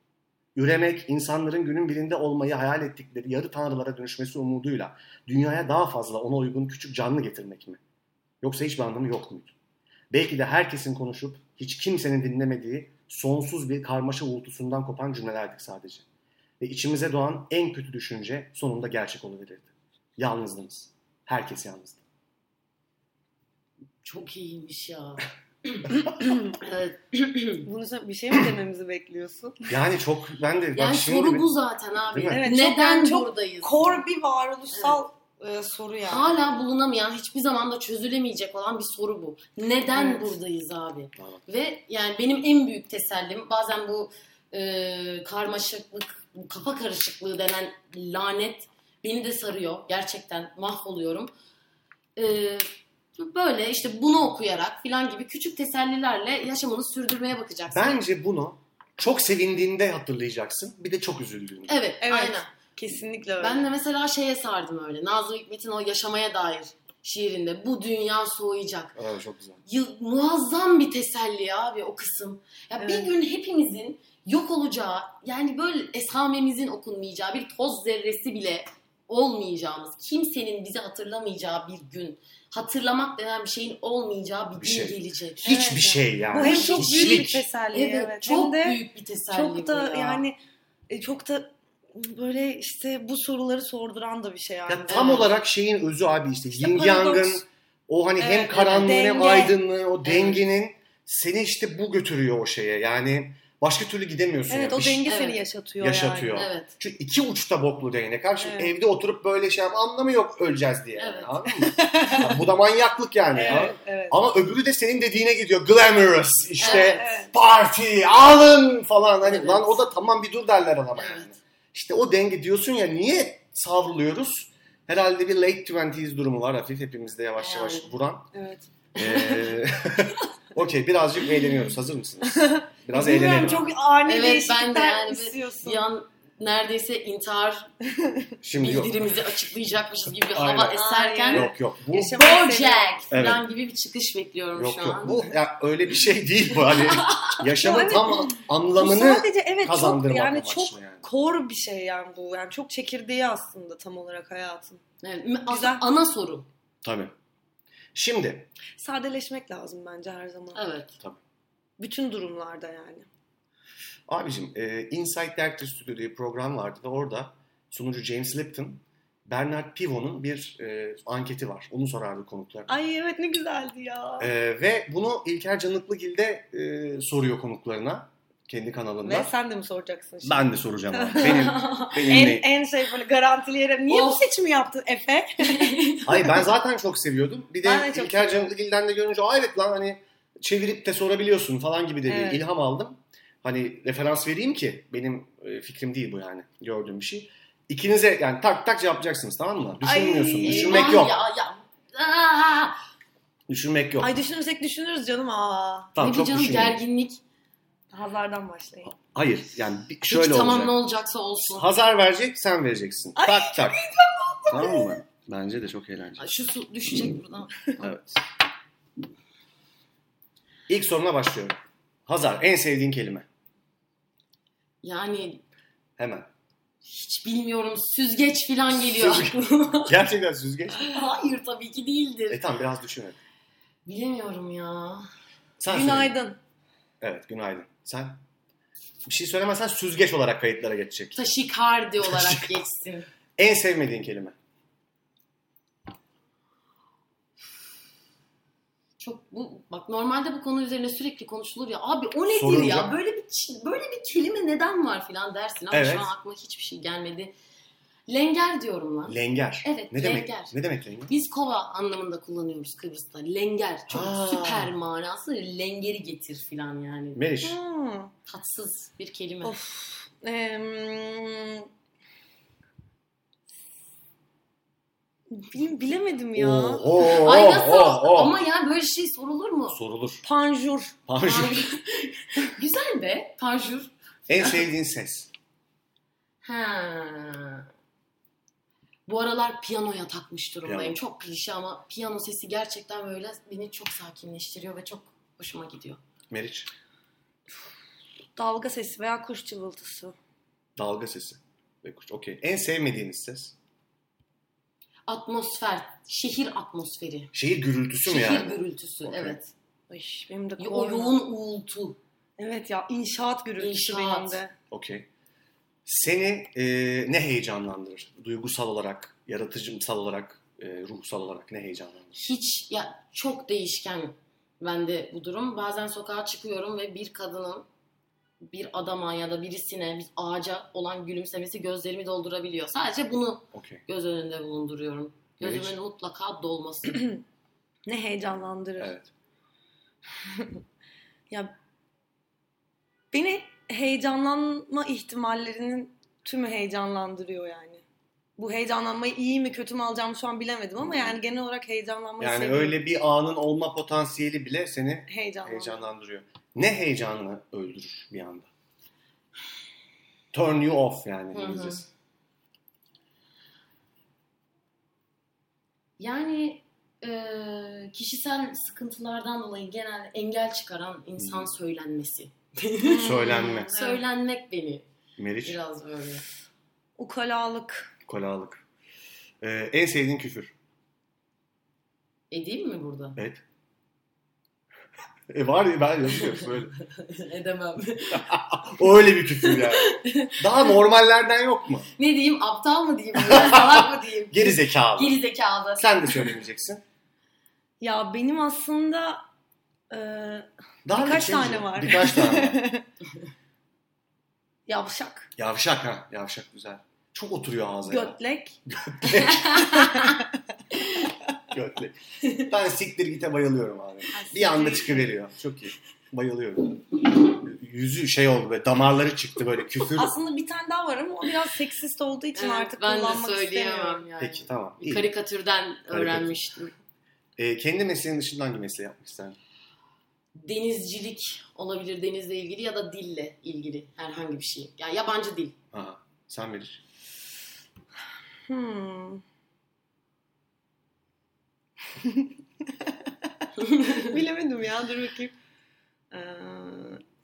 Üremek, insanların günün birinde olmayı hayal ettikleri yarı tanrılara dönüşmesi umuduyla dünyaya daha fazla ona uygun küçük canlı getirmek mi? Yoksa hiçbir anlamı yok muydu? Belki de herkesin konuşup hiç kimsenin dinlemediği sonsuz bir karmaşa uğultusundan kopan cümlelerdik sadece. Ve içimize doğan en kötü düşünce sonunda gerçek oluverirdi. Yalnızdınız. Herkes yalnızdı. Çok iyiymiş ya. evet. Bunu sen- bir şey mi dememizi bekliyorsun? Yani çok ben de bak Yani şimdi soru bir- bu zaten abi. Değil mi? Evet, çok- Neden yani çok buradayız? Kor bir varoluşsal e, soru yani. Hala bulunamayan, hiçbir zaman da çözülemeyecek olan bir soru bu. Neden Evet. buradayız abi? Tamam. Ve yani benim en büyük tesellim bazen bu e, karmaşıklık, bu kafa karışıklığı denen lanet beni de sarıyor. Gerçekten mahvoluyorum. E, böyle işte bunu okuyarak filan gibi küçük tesellilerle yaşamını sürdürmeye bakacaksın. Bence bunu çok sevindiğinde hatırlayacaksın. Bir de çok üzüldüğünde. Evet, Evet. aynen. Kesinlikle öyle. Ben de mesela şeye sardım öyle. Nazım Hikmet'in o yaşamaya dair şiirinde bu dünya soğuyacak. Evet, çok güzel. Yıl- muazzam bir teselli abi o kısım. Ya bir Evet. gün hepimizin yok olacağı, yani böyle esamemizin okunmayacağı, bir toz zerresi bile olmayacağımız, kimsenin bizi hatırlamayacağı bir gün, hatırlamak denen bir şeyin olmayacağı bir, Bir gün şey. gelecek. Hiçbir Evet. şey yani. şey. bu hem çok büyük bir Hiçlik. teselli. Evet, Evet, çok Hem de büyük bir teselli çok bu da ya. yani e, çok da böyle işte bu soruları sorduran da bir şey yani. Ya tam Evet. olarak şeyin özü abi işte, İşte yin paradoks. yangın o hani hem Evet, karanlığı hem denge. aydınlığı o Evet. dengenin seni işte bu götürüyor o şeye yani başka türlü gidemiyorsun. Evet yani. o Bir şey- denge seni Evet. yaşatıyor, Yaşatıyor. Evet. Çünkü iki uçta boklu değnek abi. Şimdi Evet. evde oturup böyle şey yap anlamı yok öleceğiz diye. Evet. Evet. Anladın mı? Ya bu da manyaklık yani. yani. anladın mı? Evet, evet. Ama öbürü de senin dediğine gidiyor. Glamorous işte Evet. Evet. parti alın falan. Hani Evet. lan o da tamam bir dur derler ama yani. Evet. İşte o denge diyorsun ya niye savruluyoruz? Herhalde bir late 20s durumu var hafif hepimizde yavaş yavaş Yani. vuran. evet. Ee, Okey birazcık eğleniyoruz. Hazır mısınız? Biraz Bilmiyorum, eğlenelim. çok ani Evet, değişiklikler ben de yani bir- istiyorsun. Bir an neredeyse intihar Şimdi yok. bildirimizi açıklayacakmışız gibi bir Aynen. hava eserken Yok yok. Bu, Yaşam- Bojack falan Evet. gibi bir çıkış bekliyorum yok şu yok. an. Bu ya, öyle bir şey değil bu. Hani yaşamın Yani- tam Bu anlamını sadece evet çok kazandırmak yani amaçlı çok yani. kor bir şey yani bu. Yani çok çekirdeği aslında tam olarak hayatın. Evet, aslında Güzel. ana soru. Tabii. Şimdi Sadeleşmek lazım bence her zaman. Evet. Bütün durumlarda yani. abicim e, Inside Director Studio diye bir program vardı ve orada sunucu James Lipton Bernard Pivot'un bir e, anketi var. Onu sorardı konuklar. Ay evet ne güzeldi ya. E, ve bunu İlker Canıklıgil de e, soruyor konuklarına kendi kanalında. Ve sen de mi soracaksın şimdi? Ben de soracağım abi. Benim, benim En, de- en şey böyle garantili yere niye bu Of. seçimi yaptın Efe? Hayır ben zaten çok seviyordum. Bir de, Ben de çok İlker Canıklıgil'den de görünce "Aa, evet lan hani çevirip de sorabiliyorsun falan gibi de bir Evet. ilham aldım. Hani referans vereyim ki benim e, fikrim değil bu yani gördüğüm bir şey. İkinize yani tak tak cevaplayacaksınız tamam mı? Düşünmüyorsun. Ay, düşünmek Ay yok. Ya, ya. Ah! Aa, Düşünmek yok. Ay düşünürsek düşünürüz canım aa. tamam ne çok bir canım düşünmeyin. gerginlik. Hazardan başlayın. Hayır yani bir- Hiç şöyle tamam olacak. ne olacaksa olsun. Hazar verecek sen vereceksin. tak tak. Tamam mı? Bence de çok eğlenceli. Ay, Şu su düşecek buradan. Evet. İlk soruna başlıyorum. Hazar en sevdiğin kelime. Yani Hemen. hiç bilmiyorum süzgeç falan geliyor Süzgeç. aklıma. Gerçekten süzgeç. Hayır tabii ki değildir. E tamam biraz düşünelim. Bilemiyorum ya. Sen söyle. Günaydın. Evet günaydın. Sen bir şey söylemezsen süzgeç olarak kayıtlara geçecek. Taşikardi olarak geçsin. En sevmediğin kelime. Çok bu bak normalde bu konu üzerine sürekli konuşulur ya. Abi o nedir Sorunca. ya? Böyle bir çi- böyle bir kelime neden var filan dersin ama Evet. şu an aklıma hiçbir şey gelmedi. Lenger diyorum lan. Lenger. Evet, ne demek? lenger. Ne demek lenger? Biz kova anlamında kullanıyoruz Kıbrıs'ta. Lenger. Çok Ha. süper manası. Lengeri getir filan yani. Meriç. Hmm. Tatsız bir kelime. Of. Em, Bil- bilemedim ya. Oho, Ay nasıl? oho. Ama ya böyle şey sorulur mu? Sorulur. Panjur. Panjur. Panjur. Güzel be. Panjur. en sevdiğin ses. Ha. Bu aralar piyanoya takmış durumdayım. Piyano. Çok klişe ama piyano sesi gerçekten böyle beni çok sakinleştiriyor ve çok hoşuma gidiyor. Meriç. Dalga sesi veya kuş cıvıltısı. Dalga sesi. Ve kuş. Okey. En sevmediğiniz ses. Atmosfer, şehir atmosferi. Şehir gürültüsü mü şehir yani? gürültüsü, Okey. evet. Ay benim de O korna. yoğun uğultu. Evet ya inşaat gürültüsü İnşaat. benim de. Okey. Seni e, ne heyecanlandırır? Duygusal olarak, yaratıcımsal olarak, e, ruhsal olarak ne heyecanlandı? Hiç ya çok değişken bende bu durum. Bazen sokağa çıkıyorum ve bir kadının bir adama ya da birisine bir ağaca olan gülümsemesi gözlerimi doldurabiliyor. Sadece bunu Okey. göz önünde bulunduruyorum. Gözümün Evet. mutlaka dolması. Ne heyecanlandırır. Evet. Ya beni heyecanlanma ihtimallerinin tümü heyecanlandırıyor yani. Bu heyecanlanmayı iyi mi kötü mü alacağımı şu an bilemedim ama yani genel olarak heyecanlanmayı Yani seviyorum. öyle bir anın olma potansiyeli bile seni heyecanlanma. heyecanlandırıyor. Ne heyecanını öldürür bir anda? Turn you off yani Hı hı. İngilizcesi. Yani eee, kişisel sıkıntılardan dolayı genel engel çıkaran insan Hmm. söylenmesi. Hmm. Söylenme. Söylenmek beni Meriç, biraz böyle. Ukalalık. kolalık. Ee, en sevdiğin küfür. Edeyim mi burada? Evet. E var ya ben yazıyorum böyle. Edemem. Öyle bir küfür yani. Daha normallerden yok mu? ne diyeyim? Aptal mı diyeyim? Böyle Salak mı diyeyim? Geri zekalı. Geri zekalı. Sen de söylemeyeceksin. Ya benim aslında e, Daha Birkaç bir şey tane var. Birkaç tane var. Yavşak, Yavşak ha. Yavşak güzel. Çok oturuyor ağza. ya. götlek. Götle. Ben siktir gite bayılıyorum abi. Bir anda çıkıveriyor. Çok iyi. Bayılıyorum. Yüzü şey oldu böyle damarları çıktı böyle küfür. Aslında bir tane daha var ama o biraz seksist olduğu için Evet, artık ben de kullanmak istemiyorum. söyleyemem yani. Peki tamam. Bir İyi. Karikatürden öğrenmiştim. Ee, kendi mesleğin dışında hangi mesleği yapmak isterdin? Denizcilik olabilir denizle ilgili ya da dille ilgili herhangi bir şey. Yani yabancı dil. Ha, sen verir. Hmm. Bilemedim ya dur bakayım. Ee,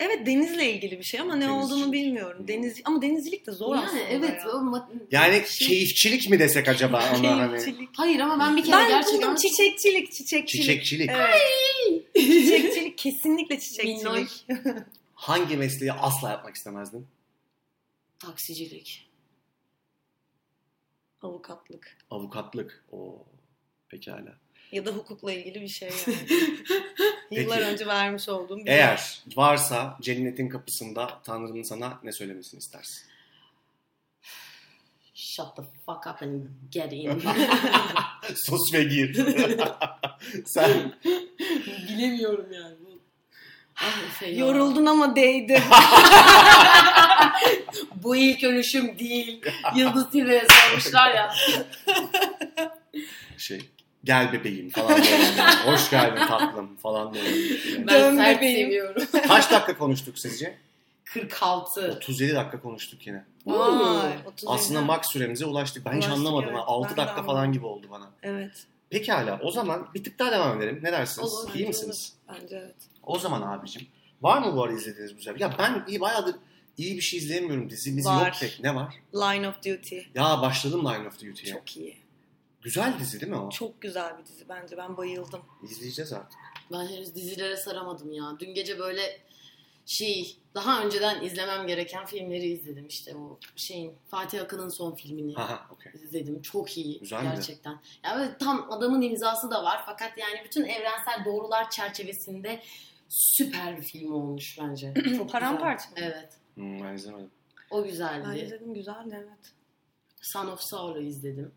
evet denizle ilgili bir şey ama ne Denizcilik. olduğunu bilmiyorum. Deniz ama denizcilik de zor yani aslında. evet. ya. o ma- Yani Şey- keyifçilik mi desek acaba ona hani? Keyifçilik. Hayır ama ben bir kere Ben gerçekten buldum çiçekçilik, çiçekçilik. Çiçekçilik. Evet. çiçekçilik kesinlikle çiçekçilik. minnoş Hangi mesleği asla yapmak istemezdin? taksicilik. Avukatlık Avukatlık. O pekala. ya da hukukla ilgili bir şey yani. Yıllar Peki. önce vermiş olduğum bir Eğer varsa cennetin kapısında Tanrı'nın sana ne söylemesini istersin? Shut the fuck up and get in. Sus ve gir. Sen Bilemiyorum yani. bu. Ah, Efe ya. şey. Yoruldun ama değdi. Bu ilk ölüşüm değil. Yıldız Tilbe'ye sormuşlar ya. şey gel bebeğim falan böyle. Hoş geldin tatlım falan böyle. Ben Dön sert bebeğim. seviyorum. Kaç dakika konuştuk sizce? 46. 37 dakika konuştuk yine. Vay, 37. Aslında max süremize ulaştık. Ben hiç Ulaştık, anlamadım. evet. ha. 6 Ben de dakika falan anlamadım. gibi oldu bana. Evet. Pekala o zaman bir tık daha devam edelim. Ne dersiniz? Olur, İyi bence misiniz? Bence evet. O zaman abicim var mı bu arada izlediğiniz güzel? Ya ben iyi bayağıdır iyi bir şey izleyemiyorum dizimiz yok Var. pek. Ne var? Line of Duty. Ya başladım Line of Duty'ye. Çok iyi. Güzel dizi değil mi o? Çok güzel bir dizi bence. Ben bayıldım. İzleyeceğiz artık. Ben henüz dizilere saramadım ya. Dün gece böyle şey daha önceden izlemem gereken filmleri izledim işte o şeyin Fatih Akın'ın son filmini Aha, okey. izledim. Çok iyi Güzel mi? gerçekten. Ya böyle tam adamın imzası da var fakat yani bütün evrensel doğrular çerçevesinde süper bir film olmuş bence. Çok güzel. Paramparça mı? Evet. Hmm, ben izlemedim. O Ben güzeldi. izledim güzeldi evet. Son of Saul'u izledim.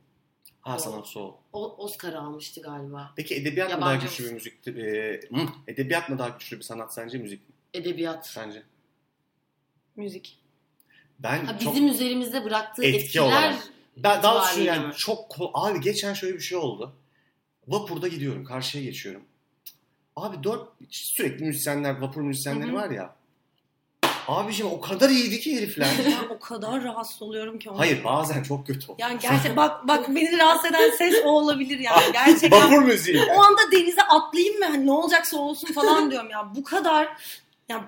Ha Sanat Soul. O Oscar almıştı galiba. Peki edebiyat mı daha Yabancı güçlü bir müzik? e, hı, edebiyat mı daha güçlü bir sanat sence müzik mi? Edebiyat. Sence? Müzik. Ben Ha, çok bizim üzerimizde bıraktığı Etki etkiler olarak. ben, daha doğrusu itibariyle mi? yani çok ko- abi geçen şöyle bir şey oldu. Vapurda gidiyorum, karşıya geçiyorum. Abi dört sürekli müzisyenler, vapur müzisyenleri Hı hı. var ya. Abicim o kadar iyiydi ki herifler. Ben o kadar rahatsız oluyorum ki. ondan. Hayır bazen çok kötü. Yani gerçekten bak bak beni rahatsız eden ses o olabilir yani. Gerçekten Vapur müziği. o anda denize atlayayım ve hani ne olacaksa olsun falan diyorum ya. Bu kadar ya,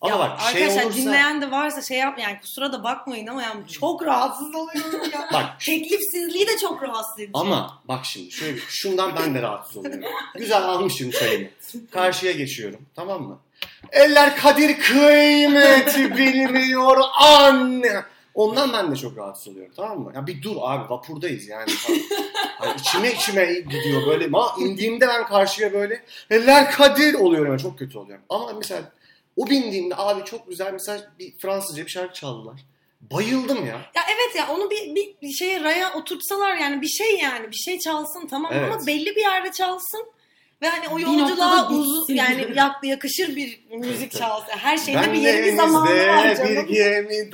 Ama ya bak şey arkadaşlar olursa dinleyen de varsa şey yap yani kusura da bakmayın ama yani çok rahatsız oluyorum ya. bak Teklifsizliği de çok rahatsız edici. Ama bak şimdi şöyle şundan ben de rahatsız oluyorum. Güzel almışım çayımı. Karşıya geçiyorum tamam mı? Eller kadir kıymeti bilmiyor anne. Ondan ben de çok rahatsız oluyorum tamam mı? Ya bir dur abi vapurdayız yani. falan. Hani içime içime gidiyor böyle. Ma indiğimde ben karşıya böyle eller kadir oluyorum. Yani çok kötü oluyorum. Ama mesela o bindiğimde abi çok güzel mesela bir Fransızca bir şarkı çaldılar. Bayıldım ya. Ya evet ya onu bir, bir, bir şeye raya oturtsalar yani bir şey yani bir şey çalsın tamam Evet. ama belli bir yerde çalsın ve hani o Bir yolculuğa noktada uzun bitsin. yani yak- yakışır bir müzik çalsın. Her şeyde Ben bir de yeri bir zamanı var elimizde bir canım. gemi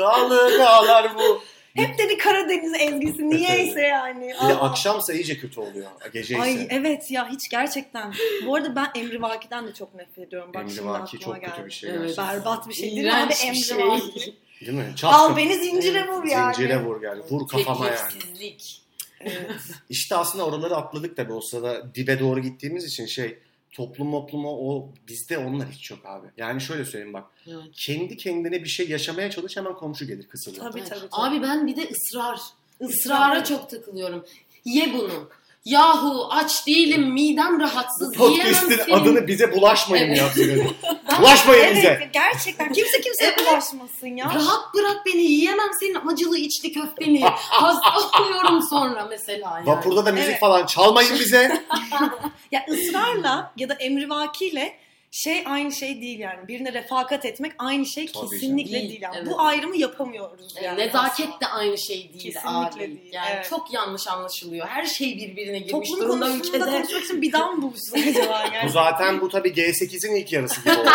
dalgalar bu. Hep de bir Karadeniz ezgisi niyeyse yani. Bir de Aa. akşamsa iyice kötü oluyor. Gece ise. Ay evet ya hiç gerçekten. Bu arada ben Emri Vaki'den de çok nefret ediyorum. Bak Emri şimdi Vaki aklıma çok kötü geldi. bir şey Evet. gerçekten. Berbat bir şey değil mi abi İğrenç Emri bir şey. Vaki? Değil mi? Al Çapkın. beni zincire vur yani. Zincire vur yani. Vur kafama yani. Teklifsizlik. Evet. İşte aslında oraları atladık tabii. O sırada dibe doğru gittiğimiz için şey toplum topluma o bizde onlar hiç yok abi. Yani şöyle söyleyeyim bak. Evet. Kendi kendine bir şey yaşamaya çalış hemen komşu gelir kısılır. Tabii tabii. Evet. tabii. Abi ben bir de ısrar. Israra Israra çok takılıyorum. Ye bunu. Yahu aç değilim midem rahatsız. Yiyemem Podcast'in senin. adını bize bulaşmayın Evet. ya. sürekli. bulaşmayın bize. Evet gerçekten kimse kimseye Evet. bulaşmasın ya. Rahat bırak beni yiyemem senin acılı içli köfteni. Hasta oluyorum sonra mesela. Yani. Vapurda da müzik Evet. falan çalmayın bize. Ya ısrarla ya da emrivakiyle şey aynı şey değil yani. Birine refakat etmek aynı şey Tabii kesinlikle canım. değil yani. Değil, Bu evet. ayrımı yapamıyoruz E, yani. Nezaket aslında. de aynı şey değil Kesinlikle abi. değil, Yani evet. çok yanlış anlaşılıyor. Her şey birbirine girmiş Toplum durumda konusunda ülkede. konuşmak için bir dam buluşsun acaba yani. Bu zaten bu tabii G8'in ilk yarısı gibi oldu.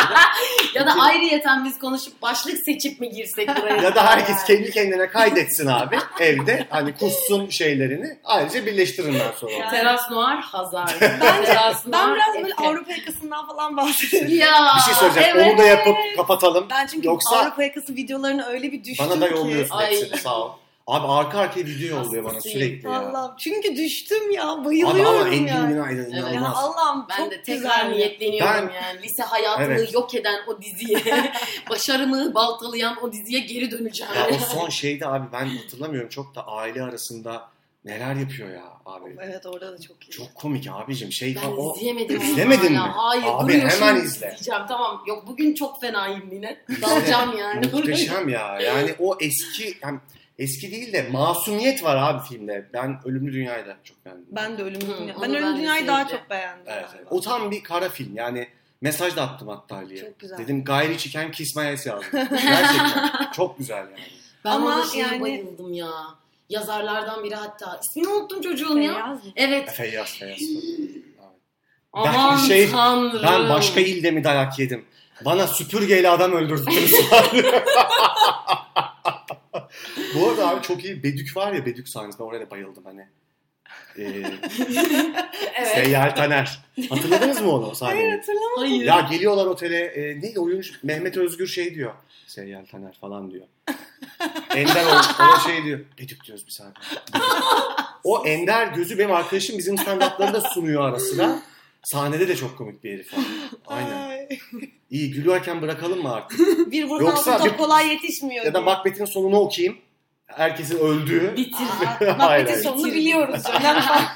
Ya da ayrıyeten biz konuşup başlık seçip mi girsek buraya? ya da herkes Yani. kendi kendine kaydetsin abi evde. Hani kussun şeylerini. Ayrıca birleştirinler sonra. Ya. Teras Noir Hazar. Bence- Teras Ben Noir biraz böyle Efe. Avrupa yakasından falan bahsediyorum. Ya, Bir şey söyleyeceğim. evet. Onu da yapıp kapatalım. Ben çünkü Yoksa- Avrupa yakası videolarını öyle bir düştüm Bana da ki. yolluyorsun Ay. hepsini sağ ol. Abi arka arkaya video yolluyor bana Hastasıyım. sürekli ya. Allah'ım çünkü düştüm ya Abi bayılıyorum ama Engin yani. Günaydın inanılmaz. Ya Allah'ım Ben çok de tekrar güzel. ya. niyetleniyorum yani. Lise hayatını Evet. yok eden o diziye, başarımı baltalayan o diziye geri döneceğim. Ya o son şeyde abi ben hatırlamıyorum çok da aile arasında neler yapıyor ya abi. Evet orada da çok iyi. Çok komik abicim şey Ben falan o. izleyemedim. İzlemedin hala. mi? Hayır. Abi, duruyor hemen şimdi izle. izleyeceğim. Tamam. Yok bugün çok fenayım yine. Dalacağım yani. Muhteşem ya. Yani o eski hem eski değil de masumiyet var abi filmde. Ben Ölümlü Dünya'yı da çok beğendim. Ben de Ölüm Hı, Dünya. onu Ben ben Ölüm de Dünya'yı daha sevdim. çok beğendim. Evet, evet. galiba. O tam bir kara film. Yani mesaj da attım hatta Ali'ye. Çok güzel. Dedim gayri çeken Kismayes yazdım. Gerçekten. çok güzel yani. Ben Ama ona şeye yani- bayıldım ya. Yazarlardan biri hatta. İsmini unuttum çocuğun ya. Beyaz mı? Evet. Feyyaz Feyyaz. Ben Aman şey- tanrım. Ben başka ilde mi dayak yedim? Bana süpürgeyle adam öldürdünüz. Bu arada abi çok iyi Bedük var ya Bedük sahnesi. Ben oraya da bayıldım hani. Ee, Evet. Seyyar Taner. Hatırladınız mı onu o sahneyi? Hayır hatırlamıyorum. Hayır. Ya geliyorlar otele. E, neydi oyuncu? Mehmet Özgür şey diyor. Seyyal Taner falan diyor. Ender o, o şey diyor. Bedük diyoruz bir saniye. o Ender gözü benim arkadaşım bizim stand-up'ları da sunuyor ara sıra. Sahnede de çok komik bir herif. Aynen. Ay. İyi gülerken bırakalım mı artık? Bir vurgun Yoksa altında bir- kolay yetişmiyor. Ya da diye. Macbeth'in sonunu okuyayım. Herkesin öldüğü. Bitir. Aa, Hayır, Macbeth'in hayır. sonunu biliyoruz. Önemli olan-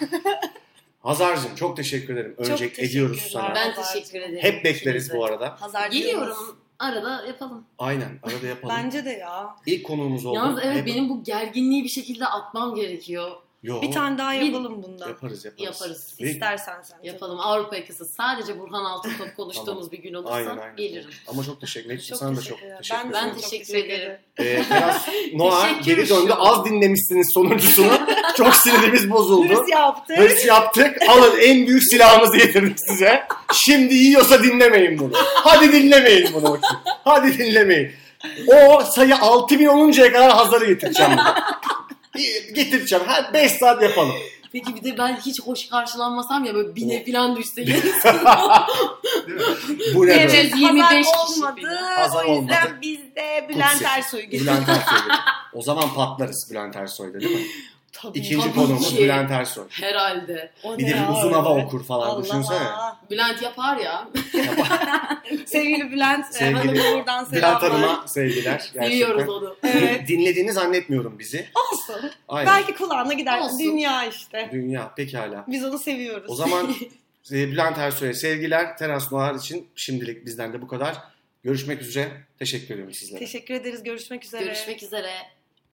Hazar'cığım çok teşekkür ederim. Çok Öncelik teşekkürler. ediyoruz sana. Ben teşekkür ederim. Hep bekleriz bu arada. Hazar diyoruz. Geliyorum. Arada yapalım. Aynen. Arada yapalım. Bence de ya. İlk konuğumuz oldu. Yalnız evet Hep- benim bu gerginliği bir şekilde atmam gerekiyor. Yo, Bir tane daha Bir- yapalım bundan. yaparız yaparız. Yaparız. Bir- İstersen sen. Yapalım. Avrupa yakası sadece Burhan Altıntop konuştuğumuz Tamam. bir gün olursa Aynen aynen. gelirim. Ama çok teşekkür ederim. Sana da çok ederim. teşekkür ederim. Ben sana çok teşekkür ederim. Ee, biraz Noah Teşekkür geri döndü. şu an. Az dinlemişsiniz sonuncusunu. çok sinirimiz bozuldu. Dürüst yaptı. Hırs yaptık. Alın en büyük silahımızı getirdik size. Şimdi yiyorsa dinlemeyin bunu. Hadi dinlemeyin bunu. bakayım. Hadi dinlemeyin. O sayı 6000 oluncaya kadar hazırı getireceğim. bunu. Bir- getireceğim. Her 5 saat yapalım. Peki bir de ben hiç hoş karşılanmasam ya böyle bine O- falan düşseyim. Değil mi? Bu ne böyle? Evet. Hazar 25 kişi olmadı. falan. Hazar o yüzden olmadı. bizde Bülent Kutsi. Ersoy gibi. Bülent Ersoy'da. O zaman patlarız Bülent Ersoy'da değil mi? Tabii. İkinci Tabii konuğumuz ki. Bülent Ersoy. Herhalde. O Bir ne de ya bir uzun öyle? hava okur falan Allah düşünsene. Allah. Bülent yapar ya. Sevgili Bülent e, Sevgili Hanım'a buradan Bülent selamlar. Hanım'a sevgiler. Seviyoruz Gerçekten. onu. Din- Evet. Dinlediğini zannetmiyorum bizi. Olsun. Aynen. Belki kulağına gider. Olsun. Dünya işte. Dünya pekala. Biz onu seviyoruz. O zaman e, Bülent Ersoy'a sevgiler. Teras Noir için şimdilik bizden de bu kadar. Görüşmek üzere. Teşekkür ediyorum sizlere. Teşekkür ederiz. Görüşmek üzere. Görüşmek üzere.